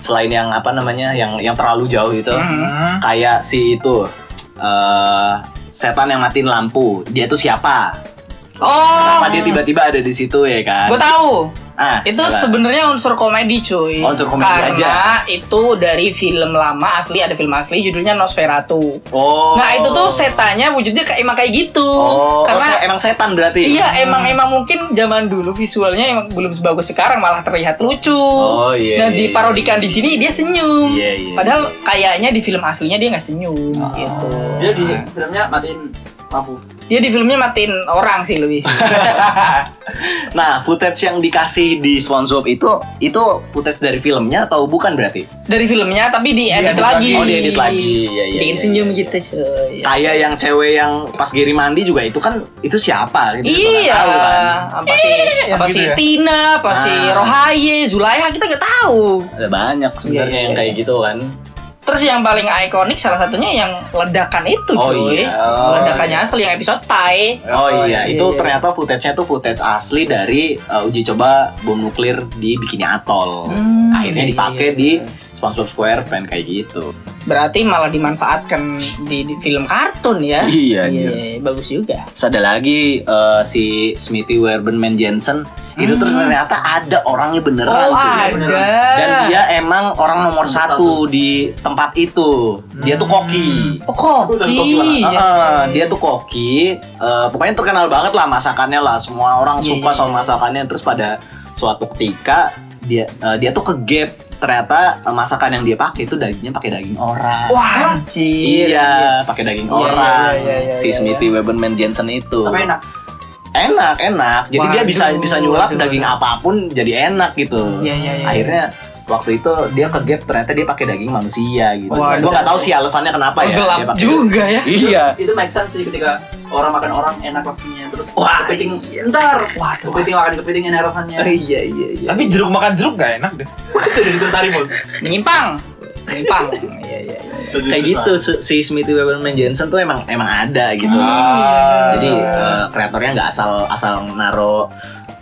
[SPEAKER 2] selain yang apa namanya, yang yang terlalu jauh itu
[SPEAKER 3] Hmm.
[SPEAKER 2] kayak si itu eh setan yang matiin lampu dia tuh siapa
[SPEAKER 1] Oh,
[SPEAKER 2] kenapa dia tiba-tiba ada di situ ya kan
[SPEAKER 1] gue tahu.
[SPEAKER 2] ah
[SPEAKER 1] Itu
[SPEAKER 2] coba.
[SPEAKER 1] sebenarnya unsur komedi cuy.
[SPEAKER 2] Oh, unsur komedi
[SPEAKER 1] Karena
[SPEAKER 2] aja.
[SPEAKER 1] itu dari film lama asli ada film asli judulnya Nosferatu.
[SPEAKER 2] oh
[SPEAKER 1] Nah itu tuh setannya wujudnya kayak emang kayak gitu.
[SPEAKER 2] oh, oh,
[SPEAKER 1] Karena
[SPEAKER 2] se- hmm. emang setan berarti
[SPEAKER 1] iya emang emang mungkin zaman dulu visualnya emang belum sebagus sekarang malah terlihat lucu.
[SPEAKER 2] oh iya
[SPEAKER 1] Dan
[SPEAKER 2] iya,
[SPEAKER 1] diparodikan di
[SPEAKER 2] iya.
[SPEAKER 1] sini dia senyum.
[SPEAKER 2] Iya, iya,
[SPEAKER 1] Padahal
[SPEAKER 2] iya.
[SPEAKER 1] kayaknya di film aslinya dia nggak senyum
[SPEAKER 2] Oh.
[SPEAKER 1] gitu.
[SPEAKER 4] dia di filmnya matiin lampu
[SPEAKER 1] Dia di filmnya matiin orang sih lebih. sih.
[SPEAKER 2] nah footage yang dikasih di SpongeBob itu itu footage dari filmnya atau bukan berarti
[SPEAKER 1] Dari filmnya tapi diedit
[SPEAKER 3] Diedit
[SPEAKER 1] lagi.
[SPEAKER 3] lagi.
[SPEAKER 2] oh diedit lagi iya iya
[SPEAKER 1] Bikin
[SPEAKER 2] iya,
[SPEAKER 1] senyum
[SPEAKER 2] iya.
[SPEAKER 1] gitu cuy.
[SPEAKER 2] kayak yang cewek yang pas Giri mandi juga itu kan itu siapa gitu kita nggak
[SPEAKER 1] Iya,
[SPEAKER 2] tahu kan
[SPEAKER 1] apa
[SPEAKER 2] iya,
[SPEAKER 1] sih,
[SPEAKER 3] yang
[SPEAKER 1] apa
[SPEAKER 3] gitu
[SPEAKER 1] sih
[SPEAKER 3] ya.
[SPEAKER 1] Tina, apa sih
[SPEAKER 2] Ah.
[SPEAKER 1] Rohaye, Zulaiha kita nggak tahu.
[SPEAKER 2] ada banyak
[SPEAKER 1] Iya,
[SPEAKER 2] sebenarnya
[SPEAKER 1] iya,
[SPEAKER 2] yang kayak gitu kan
[SPEAKER 1] Terus yang paling ikonik salah satunya yang ledakan itu
[SPEAKER 2] Oh,
[SPEAKER 1] cuy.
[SPEAKER 2] iya. Oh,
[SPEAKER 1] Ledakannya asli yang episode Pai.
[SPEAKER 2] Oh, iya,
[SPEAKER 1] iya,
[SPEAKER 2] itu
[SPEAKER 1] iya.
[SPEAKER 2] ternyata footage-nya tuh footage asli dari uh, uji coba bom nuklir di Bikini Atoll.
[SPEAKER 1] Hmm. iya.
[SPEAKER 2] Akhirnya dipakai di SpongeBob SquarePants kayak gitu.
[SPEAKER 1] Berarti malah dimanfaatkan di, di film kartun ya.
[SPEAKER 2] Iya, anjir.
[SPEAKER 1] bagus juga.
[SPEAKER 2] Terus ada lagi uh, si Smithy Werberman Jensen, itu tuh ternyata ada orangnya beneran
[SPEAKER 1] Hmm. oh
[SPEAKER 2] cuy.
[SPEAKER 1] ada.
[SPEAKER 4] beneran.
[SPEAKER 2] Dan dia emang orang nomor satu Hmm. di tempat itu. Dia tuh koki.
[SPEAKER 1] Oh, koki.
[SPEAKER 4] Udah, koki banget.
[SPEAKER 1] Iya.
[SPEAKER 2] Heeh, dia tuh koki, eh, pokoknya terkenal banget lah masakannya lah. Semua orang
[SPEAKER 1] Iya,
[SPEAKER 2] suka
[SPEAKER 1] iya.
[SPEAKER 2] sama masakannya. Terus pada suatu ketika dia eh, dia tuh ke gap ternyata eh, masakan yang dia pakai itu dagingnya pakai daging orang.
[SPEAKER 1] Wah, anjir.
[SPEAKER 2] Iya, pakai daging
[SPEAKER 1] Oh, Iya, iya,
[SPEAKER 2] orang.
[SPEAKER 1] iya, iya,
[SPEAKER 2] si
[SPEAKER 1] iya,
[SPEAKER 2] Smithy Weberman Jensen itu.
[SPEAKER 4] tapi enak
[SPEAKER 2] Enak, enak. Jadi dia bisa
[SPEAKER 1] Waduh,
[SPEAKER 2] bisa nyulap
[SPEAKER 1] waduh,
[SPEAKER 2] daging
[SPEAKER 1] waduh.
[SPEAKER 2] apapun jadi enak gitu.
[SPEAKER 1] Iya, iya, iya.
[SPEAKER 2] Akhirnya waktu itu dia ke gap ternyata dia pakai daging manusia gitu.
[SPEAKER 1] Waduh.
[SPEAKER 2] Gue nggak tahu sih alasannya
[SPEAKER 1] Oh,
[SPEAKER 2] kenapa ya.
[SPEAKER 1] gelap
[SPEAKER 2] dia pakai-
[SPEAKER 1] juga ya.
[SPEAKER 2] Iya.
[SPEAKER 4] itu make sense sih ketika orang makan orang enak waktunya terus
[SPEAKER 2] Wah,
[SPEAKER 4] kepiting ntar
[SPEAKER 1] Waduh.
[SPEAKER 4] kepiting makan kepiting enak rasanya
[SPEAKER 2] Iya iya iya.
[SPEAKER 3] Tapi jeruk makan jeruk gak enak deh.
[SPEAKER 4] itu dari Nutrisari bos
[SPEAKER 1] Menyimpang. Menyimpang. Iya, iya, iya.
[SPEAKER 2] kayak gitu su- si Smithy Weberman Jensen tuh emang emang ada gitu.
[SPEAKER 1] Ah.
[SPEAKER 2] Jadi eh, kreatornya nggak asal asal naro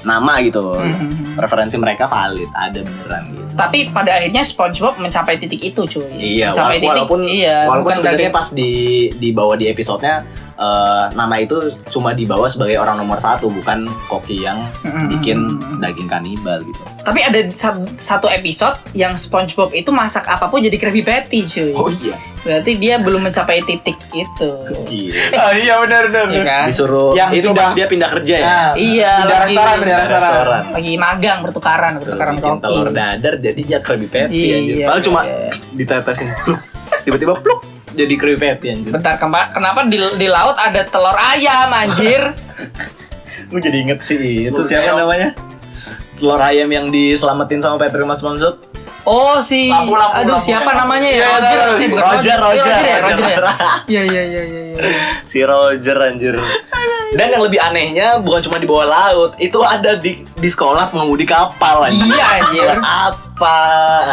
[SPEAKER 2] nama gitu.
[SPEAKER 1] Mhm.
[SPEAKER 2] Referensi mereka valid, ada beneran gitu.
[SPEAKER 1] Tapi pada akhirnya SpongeBob mencapai titik itu, cuy.
[SPEAKER 2] Iya,
[SPEAKER 1] mencapai
[SPEAKER 2] wala- walaupun
[SPEAKER 1] iya,
[SPEAKER 2] walaupun
[SPEAKER 1] bukan berarti
[SPEAKER 2] sebenarnya pas di dibawa di episodenya eh, nama itu cuma dibawa sebagai orang nomor satu, bukan koki yang
[SPEAKER 1] Mhm.
[SPEAKER 2] bikin daging kanibal gitu.
[SPEAKER 1] Tapi ada sa- satu episode yang SpongeBob itu masak apapun jadi Krabby Patty, cuy.
[SPEAKER 2] iya,
[SPEAKER 1] Berarti dia belum mencapai titik itu.
[SPEAKER 2] gila.
[SPEAKER 3] Oh iya benar benar. Ah.
[SPEAKER 1] Iya kan?
[SPEAKER 2] Disuruh
[SPEAKER 3] Yang
[SPEAKER 2] itu
[SPEAKER 3] pindah-
[SPEAKER 2] pas dia pindah kerja ya.
[SPEAKER 1] Iya,
[SPEAKER 3] Pindah
[SPEAKER 1] lagi-
[SPEAKER 3] restoran, pindah
[SPEAKER 2] Pindah
[SPEAKER 3] restoran.
[SPEAKER 2] restoran.
[SPEAKER 1] Lagi magang bertukaran, bertukaran
[SPEAKER 2] bikin
[SPEAKER 1] koki.
[SPEAKER 2] telur dadar jadinya Krabby Patty anjir.
[SPEAKER 1] Iya,
[SPEAKER 2] gitu. Padahal cuma
[SPEAKER 1] iya.
[SPEAKER 2] ditetesin pluk. Tiba-tiba pluk. jadi kripet ya anjir.
[SPEAKER 1] Bentar, kempa- kenapa di, di laut ada telur ayam anjir?
[SPEAKER 2] Gue jadi inget sih itu
[SPEAKER 4] Telur
[SPEAKER 2] siapa
[SPEAKER 4] ayam.
[SPEAKER 2] namanya? Telur ayam yang diselamatin sama Patrick Mas Mansur.
[SPEAKER 1] Oh si,
[SPEAKER 4] Lampu, lampu,
[SPEAKER 1] aduh
[SPEAKER 4] lampu,
[SPEAKER 1] siapa
[SPEAKER 4] lampu.
[SPEAKER 1] namanya ya?
[SPEAKER 3] Iya,
[SPEAKER 1] Roger,
[SPEAKER 3] Roger,
[SPEAKER 1] eh, bukan
[SPEAKER 2] Roger, Roger,
[SPEAKER 1] Roger, ya, Roger,
[SPEAKER 2] Roger.
[SPEAKER 1] ya? Iya iya iya iya. iya.
[SPEAKER 2] si Roger anjir. Dan yang lebih anehnya bukan cuma di bawah laut, itu ada di di sekolah pengemudi kapal anjir.
[SPEAKER 1] Iya anjir.
[SPEAKER 2] Apa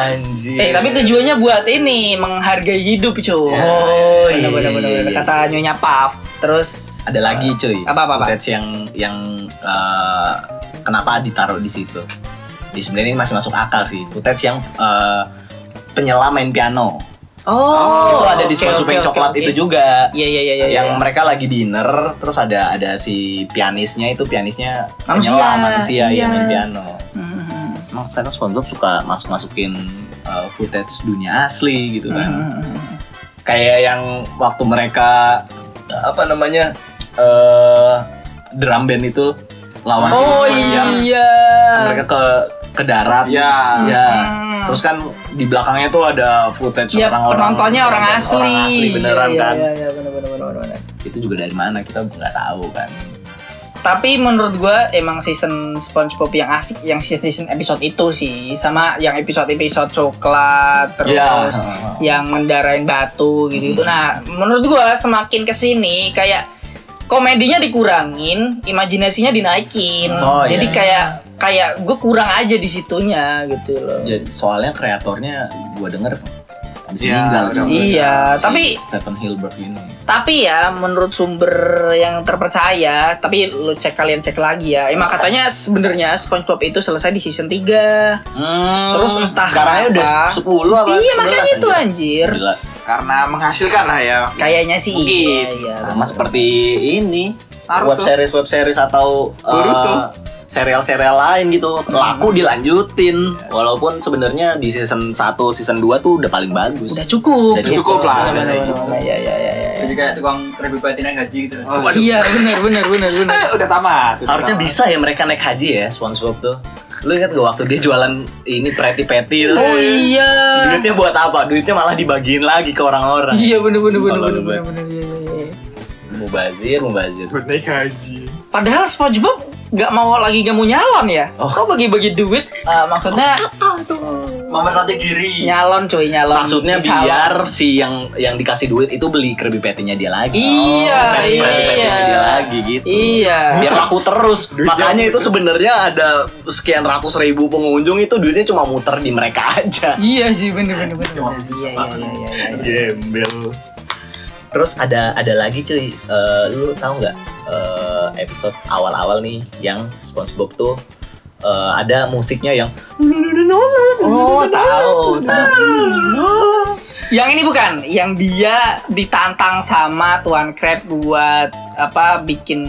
[SPEAKER 2] anjir?
[SPEAKER 1] Eh tapi tujuannya buat ini menghargai hidup cuy.
[SPEAKER 2] Oh, iya.
[SPEAKER 1] bener, bener, bener, bener. kata nyonya Paf. Terus
[SPEAKER 2] ada lagi cuy.
[SPEAKER 1] Ah. Apa, apa, apa?
[SPEAKER 2] Footage yang yang eh, kenapa ditaruh di situ? Di sebenarnya ini masih masuk akal sih. Footage yang eh, penyelam main piano.
[SPEAKER 1] oh,
[SPEAKER 2] itu ada di
[SPEAKER 1] oke,
[SPEAKER 2] SpongeBob
[SPEAKER 1] oke,
[SPEAKER 2] yang
[SPEAKER 1] oke,
[SPEAKER 2] coklat
[SPEAKER 1] oke.
[SPEAKER 2] itu juga.
[SPEAKER 1] Iya iya iya iya.
[SPEAKER 2] yang
[SPEAKER 1] iya.
[SPEAKER 2] mereka lagi dinner terus ada ada si pianisnya itu pianisnya
[SPEAKER 1] Manusia,
[SPEAKER 2] penyelam, manusia
[SPEAKER 1] iya.
[SPEAKER 2] yang main piano.
[SPEAKER 1] Hmm.
[SPEAKER 2] Emang sekarang SpongeBob suka masuk masukin footage dunia asli gitu
[SPEAKER 1] Mm-hmm. Hmm,
[SPEAKER 2] kan. Kayak yang waktu mereka eh, apa namanya eh drum band itu lawan si
[SPEAKER 1] Oh
[SPEAKER 2] Usman yang
[SPEAKER 1] iya.
[SPEAKER 2] mereka ke ke darat.
[SPEAKER 3] Ya.
[SPEAKER 2] Iya.
[SPEAKER 1] Hmm.
[SPEAKER 2] Terus kan di belakangnya tuh ada footage
[SPEAKER 1] Iya,
[SPEAKER 2] orang-orang
[SPEAKER 1] penontonnya orang asli.
[SPEAKER 2] Orang asli beneran
[SPEAKER 1] Iya,
[SPEAKER 2] kan.
[SPEAKER 1] Iya iya bener bener bener bener.
[SPEAKER 2] Itu juga dari mana kita nggak tahu kan.
[SPEAKER 1] Tapi menurut gua emang season SpongeBob yang asik yang season episode itu sih sama yang episode-episode coklat terus
[SPEAKER 2] Iya.
[SPEAKER 1] yang mendarain batu gitu gitu.
[SPEAKER 2] Hmm.
[SPEAKER 1] Nah, menurut gua semakin kesini kayak komedinya dikurangin, imajinasinya dinaikin.
[SPEAKER 2] Oh, iya.
[SPEAKER 1] Jadi kayak kayak gue kurang aja di situnya gitu loh.
[SPEAKER 2] Ya, soalnya kreatornya gua denger habis
[SPEAKER 3] Iya,
[SPEAKER 2] meninggal
[SPEAKER 3] udah
[SPEAKER 2] cuy.
[SPEAKER 1] meninggal. Iya, tapi-
[SPEAKER 2] Stephen Hilbert ini.
[SPEAKER 1] Tapi ya menurut sumber yang terpercaya, tapi lu cek kalian cek lagi ya. Emang katanya sebenarnya SpongeBob itu selesai di season 3.
[SPEAKER 3] Hmm.
[SPEAKER 1] Terus entah
[SPEAKER 2] sekarangnya udah
[SPEAKER 1] kenapa.
[SPEAKER 2] 10 apa?
[SPEAKER 1] iya,
[SPEAKER 2] 11
[SPEAKER 1] makanya itu
[SPEAKER 2] anjir.
[SPEAKER 1] anjir.
[SPEAKER 2] Gila.
[SPEAKER 3] Karena menghasilkan lah ya.
[SPEAKER 1] Kayaknya sih
[SPEAKER 3] Mungkin.
[SPEAKER 1] iya, iya.
[SPEAKER 2] Sama seperti ini
[SPEAKER 3] Naruto.
[SPEAKER 2] web series web series atau eh,
[SPEAKER 3] Boruto.
[SPEAKER 2] serial-serial lain gitu laku dilanjutin walaupun sebenarnya di season 1 season 2 tuh udah paling bagus
[SPEAKER 1] udah cukup.
[SPEAKER 2] Udah
[SPEAKER 1] gitu.
[SPEAKER 3] cukup lah.
[SPEAKER 1] Bener, bener, bener. Iya, iya, iya, iya.
[SPEAKER 4] Jadi kayak tukang review patina gaji gitu.
[SPEAKER 3] Oh,
[SPEAKER 2] Waduh.
[SPEAKER 1] Iya benar benar benar benar.
[SPEAKER 3] Eh, udah tamat. udah
[SPEAKER 2] Harusnya
[SPEAKER 3] tamat.
[SPEAKER 2] bisa ya mereka naik haji ya SpongeBob tuh. Lu ingat gak waktu dia jualan ini peti-peti
[SPEAKER 1] Oh
[SPEAKER 2] tuh?
[SPEAKER 1] iya.
[SPEAKER 2] Duitnya buat apa? Duitnya malah dibagiin lagi ke orang-orang.
[SPEAKER 1] Iya benar benar benar
[SPEAKER 2] Kalau
[SPEAKER 1] benar
[SPEAKER 2] lu-
[SPEAKER 1] benar benar iya iya iya.
[SPEAKER 2] Mubazir, mubazir.
[SPEAKER 3] Buat naik haji.
[SPEAKER 1] Padahal SpongeBob nggak mau lagi nggak mau nyalon ya.
[SPEAKER 2] Oh.
[SPEAKER 1] Kok bagi-bagi duit? Eh, maksudnya
[SPEAKER 4] Mempercantik
[SPEAKER 2] Iya.
[SPEAKER 4] diri.
[SPEAKER 1] nyalon cuy nyalon.
[SPEAKER 2] Maksudnya
[SPEAKER 1] Disalon.
[SPEAKER 2] biar si yang yang dikasih duit itu beli Krabby Patty-nya dia lagi.
[SPEAKER 1] Iya,
[SPEAKER 2] Beli Krabby
[SPEAKER 1] iya.
[SPEAKER 2] Patty-nya dia lagi gitu.
[SPEAKER 1] Iya.
[SPEAKER 2] Biar laku terus. Makanya itu sebenarnya ada sekian ratus ribu pengunjung itu duitnya cuma muter di mereka aja.
[SPEAKER 1] Iya sih benar benar benar.
[SPEAKER 4] Cuma
[SPEAKER 1] benar.
[SPEAKER 4] bisa
[SPEAKER 1] Iya iya
[SPEAKER 4] makan.
[SPEAKER 1] iya iya. iya.
[SPEAKER 2] Gembel. Terus ada ada lagi cuy, Eh, lu tahu nggak eh, episode awal-awal nih yang SpongeBob tuh eh, ada musiknya yang
[SPEAKER 1] Oh tahu tahu. Yang ini bukan, yang dia ditantang sama Tuan Crab buat apa bikin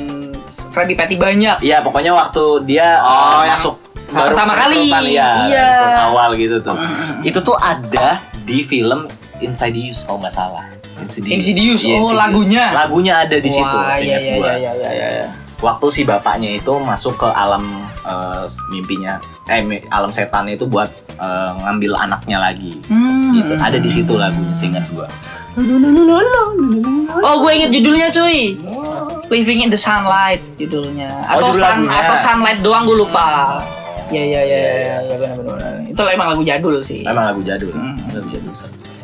[SPEAKER 1] Krabby Patty banyak.
[SPEAKER 2] Iya pokoknya waktu dia
[SPEAKER 3] Oh,
[SPEAKER 2] eh,
[SPEAKER 3] yang
[SPEAKER 2] masuk
[SPEAKER 1] sama- pertama kali. Mm,
[SPEAKER 2] rekrutan, ya,
[SPEAKER 1] Iya.
[SPEAKER 2] rekrut awal gitu tuh. Itu tuh ada di film Insidious kalau nggak salah. Insidious.
[SPEAKER 1] Insidious,
[SPEAKER 2] Iya,
[SPEAKER 1] oh, lagunya.
[SPEAKER 2] Lagunya ada di situ.
[SPEAKER 1] Wah, iya
[SPEAKER 2] seingat
[SPEAKER 1] iya
[SPEAKER 2] gua.
[SPEAKER 1] iya iya iya. iya.
[SPEAKER 2] waktu si bapaknya itu masuk ke alam eh, mimpinya eh mi- alam setan itu buat eh, ngambil anaknya lagi
[SPEAKER 1] Hmm.
[SPEAKER 2] gitu ada di situ lagunya seingat gua
[SPEAKER 1] Oh, gue inget judulnya cuy. Living in the sunlight judulnya. Atau
[SPEAKER 2] Oh, judul
[SPEAKER 1] sun
[SPEAKER 2] lagunya.
[SPEAKER 1] atau sunlight doang gue lupa. Iya iya iya
[SPEAKER 2] Iya,
[SPEAKER 1] iya iya benar benar. benar. Itu emang lagu jadul sih.
[SPEAKER 2] emang lagu jadul
[SPEAKER 1] Hmm.
[SPEAKER 2] lagu jadul seru, seru.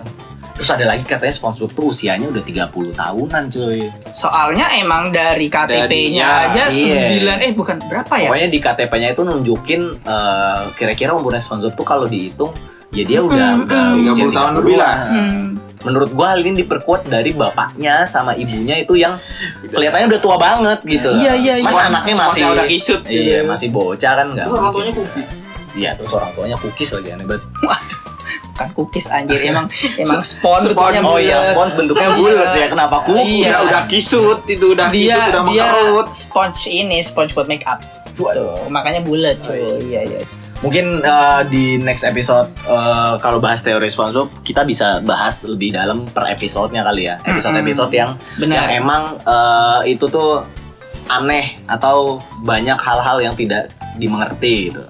[SPEAKER 2] terus ada lagi katanya sponsor tuh usianya udah 30 tahunan cuy
[SPEAKER 1] Soalnya emang dari KTP-nya
[SPEAKER 3] Dari-
[SPEAKER 1] aja
[SPEAKER 2] iya.
[SPEAKER 1] 9 eh bukan berapa ya?
[SPEAKER 2] pokoknya di KTP-nya itu nunjukin eh, kira-kira umurnya sponsor tuh kalau dihitung ya dia udah
[SPEAKER 1] Mm,
[SPEAKER 2] udah
[SPEAKER 1] mm.
[SPEAKER 2] usia
[SPEAKER 3] 30 tahun
[SPEAKER 2] 30-an.
[SPEAKER 3] lebih lah.
[SPEAKER 1] Hmm.
[SPEAKER 2] menurut gua hal ini diperkuat dari bapaknya sama ibunya itu yang kelihatannya udah tua banget gitu.
[SPEAKER 1] Iya, iya, iya.
[SPEAKER 2] Mas anaknya masih
[SPEAKER 3] Semuanya udah kisut.
[SPEAKER 2] Iya, masih bocah kan enggak.
[SPEAKER 4] Itu orang tuanya kubis.
[SPEAKER 2] Iya, terus orang tuanya cookies lagi aneh banget.
[SPEAKER 1] Bukan cookies anjir, emang emang spawn
[SPEAKER 3] Spawn.
[SPEAKER 1] bentuknya
[SPEAKER 2] Oh
[SPEAKER 1] bulat.
[SPEAKER 2] iya, spons bentuknya bulat ya. Kenapa cookies?
[SPEAKER 1] Iya.
[SPEAKER 3] Udah, udah kisut, itu udah
[SPEAKER 1] Dia
[SPEAKER 3] kisut, udah
[SPEAKER 1] dia
[SPEAKER 3] mengkerut.
[SPEAKER 1] sponge ini, sponge buat make up. Tuh, makanya bulat cuy. iya iya.
[SPEAKER 2] Mungkin eh, di next episode eh, kalau bahas teori SpongeBob kita bisa bahas lebih dalam per episodenya kali ya. Episode-episode yang
[SPEAKER 1] Benar.
[SPEAKER 2] yang emang eh, itu tuh aneh atau banyak hal-hal yang tidak dimengerti gitu.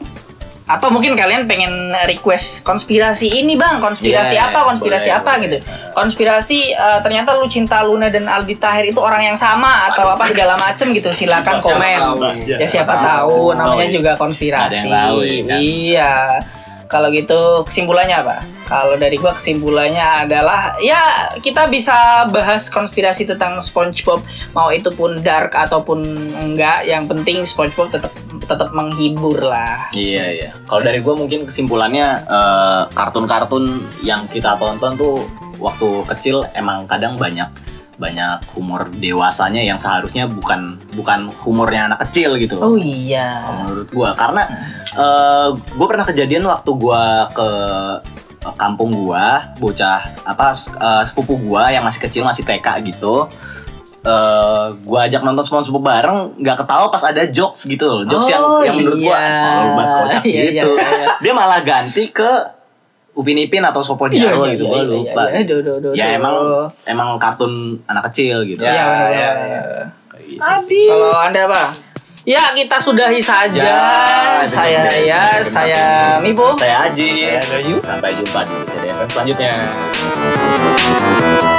[SPEAKER 1] Atau mungkin kalian pengen request konspirasi ini bang, konspirasi
[SPEAKER 2] Yeah,
[SPEAKER 1] apa, konspirasi
[SPEAKER 2] Iya, boleh,
[SPEAKER 1] apa
[SPEAKER 2] boleh.
[SPEAKER 1] gitu. Konspirasi eh, ternyata lu cinta Luna dan Aldi Tahir itu orang yang sama atau apa segala macem gitu. Silakan
[SPEAKER 2] Siapa
[SPEAKER 1] komen.
[SPEAKER 2] tahu.
[SPEAKER 1] Ya siapa tahu, namanya
[SPEAKER 2] Tahu.
[SPEAKER 1] juga konspirasi.
[SPEAKER 2] Ada yang tahu, ya kan?
[SPEAKER 1] Iya. Kalau gitu kesimpulannya apa? Kalau dari gua kesimpulannya adalah ya kita bisa bahas konspirasi tentang SpongeBob mau itu pun dark ataupun enggak, yang penting SpongeBob tetap tetap menghibur lah.
[SPEAKER 2] Iya iya. Kalau dari gue mungkin kesimpulannya eh, kartun-kartun yang kita tonton tuh waktu kecil emang kadang banyak banyak humor dewasanya yang seharusnya bukan bukan humornya anak kecil gitu.
[SPEAKER 1] Oh iya.
[SPEAKER 2] Kalau menurut gua karena eh gua pernah kejadian waktu gua ke kampung gua bocah apa s- eh, sepupu gua yang masih kecil masih TK gitu eh gua ajak nonton SpongeBob bareng nggak ketawa pas ada jokes gitu loh jokes yang
[SPEAKER 1] Oh,
[SPEAKER 2] yang menurut gua
[SPEAKER 1] iya.
[SPEAKER 2] "Ah, lu banget kocak
[SPEAKER 1] Iya, iya,
[SPEAKER 2] gitu
[SPEAKER 1] iya, iya.
[SPEAKER 2] dia malah ganti ke Upin Ipin atau Sopo Diaro gitu gua lupa
[SPEAKER 1] Iya, Aduh, aduh, aduh, aduh.
[SPEAKER 2] ya emang emang kartun anak kecil gitu Iya,
[SPEAKER 1] Iya,
[SPEAKER 3] Ya,
[SPEAKER 1] benar,
[SPEAKER 3] ya,
[SPEAKER 1] benar,
[SPEAKER 3] ya.
[SPEAKER 1] benar.
[SPEAKER 2] Abi
[SPEAKER 1] Kalau Anda apa? Ya, kita sudahi saja.
[SPEAKER 2] Ya,
[SPEAKER 1] saya
[SPEAKER 2] sudah.
[SPEAKER 1] ya, saya Mibo.
[SPEAKER 2] saya Aji sampai jumpa di CDFM selanjutnya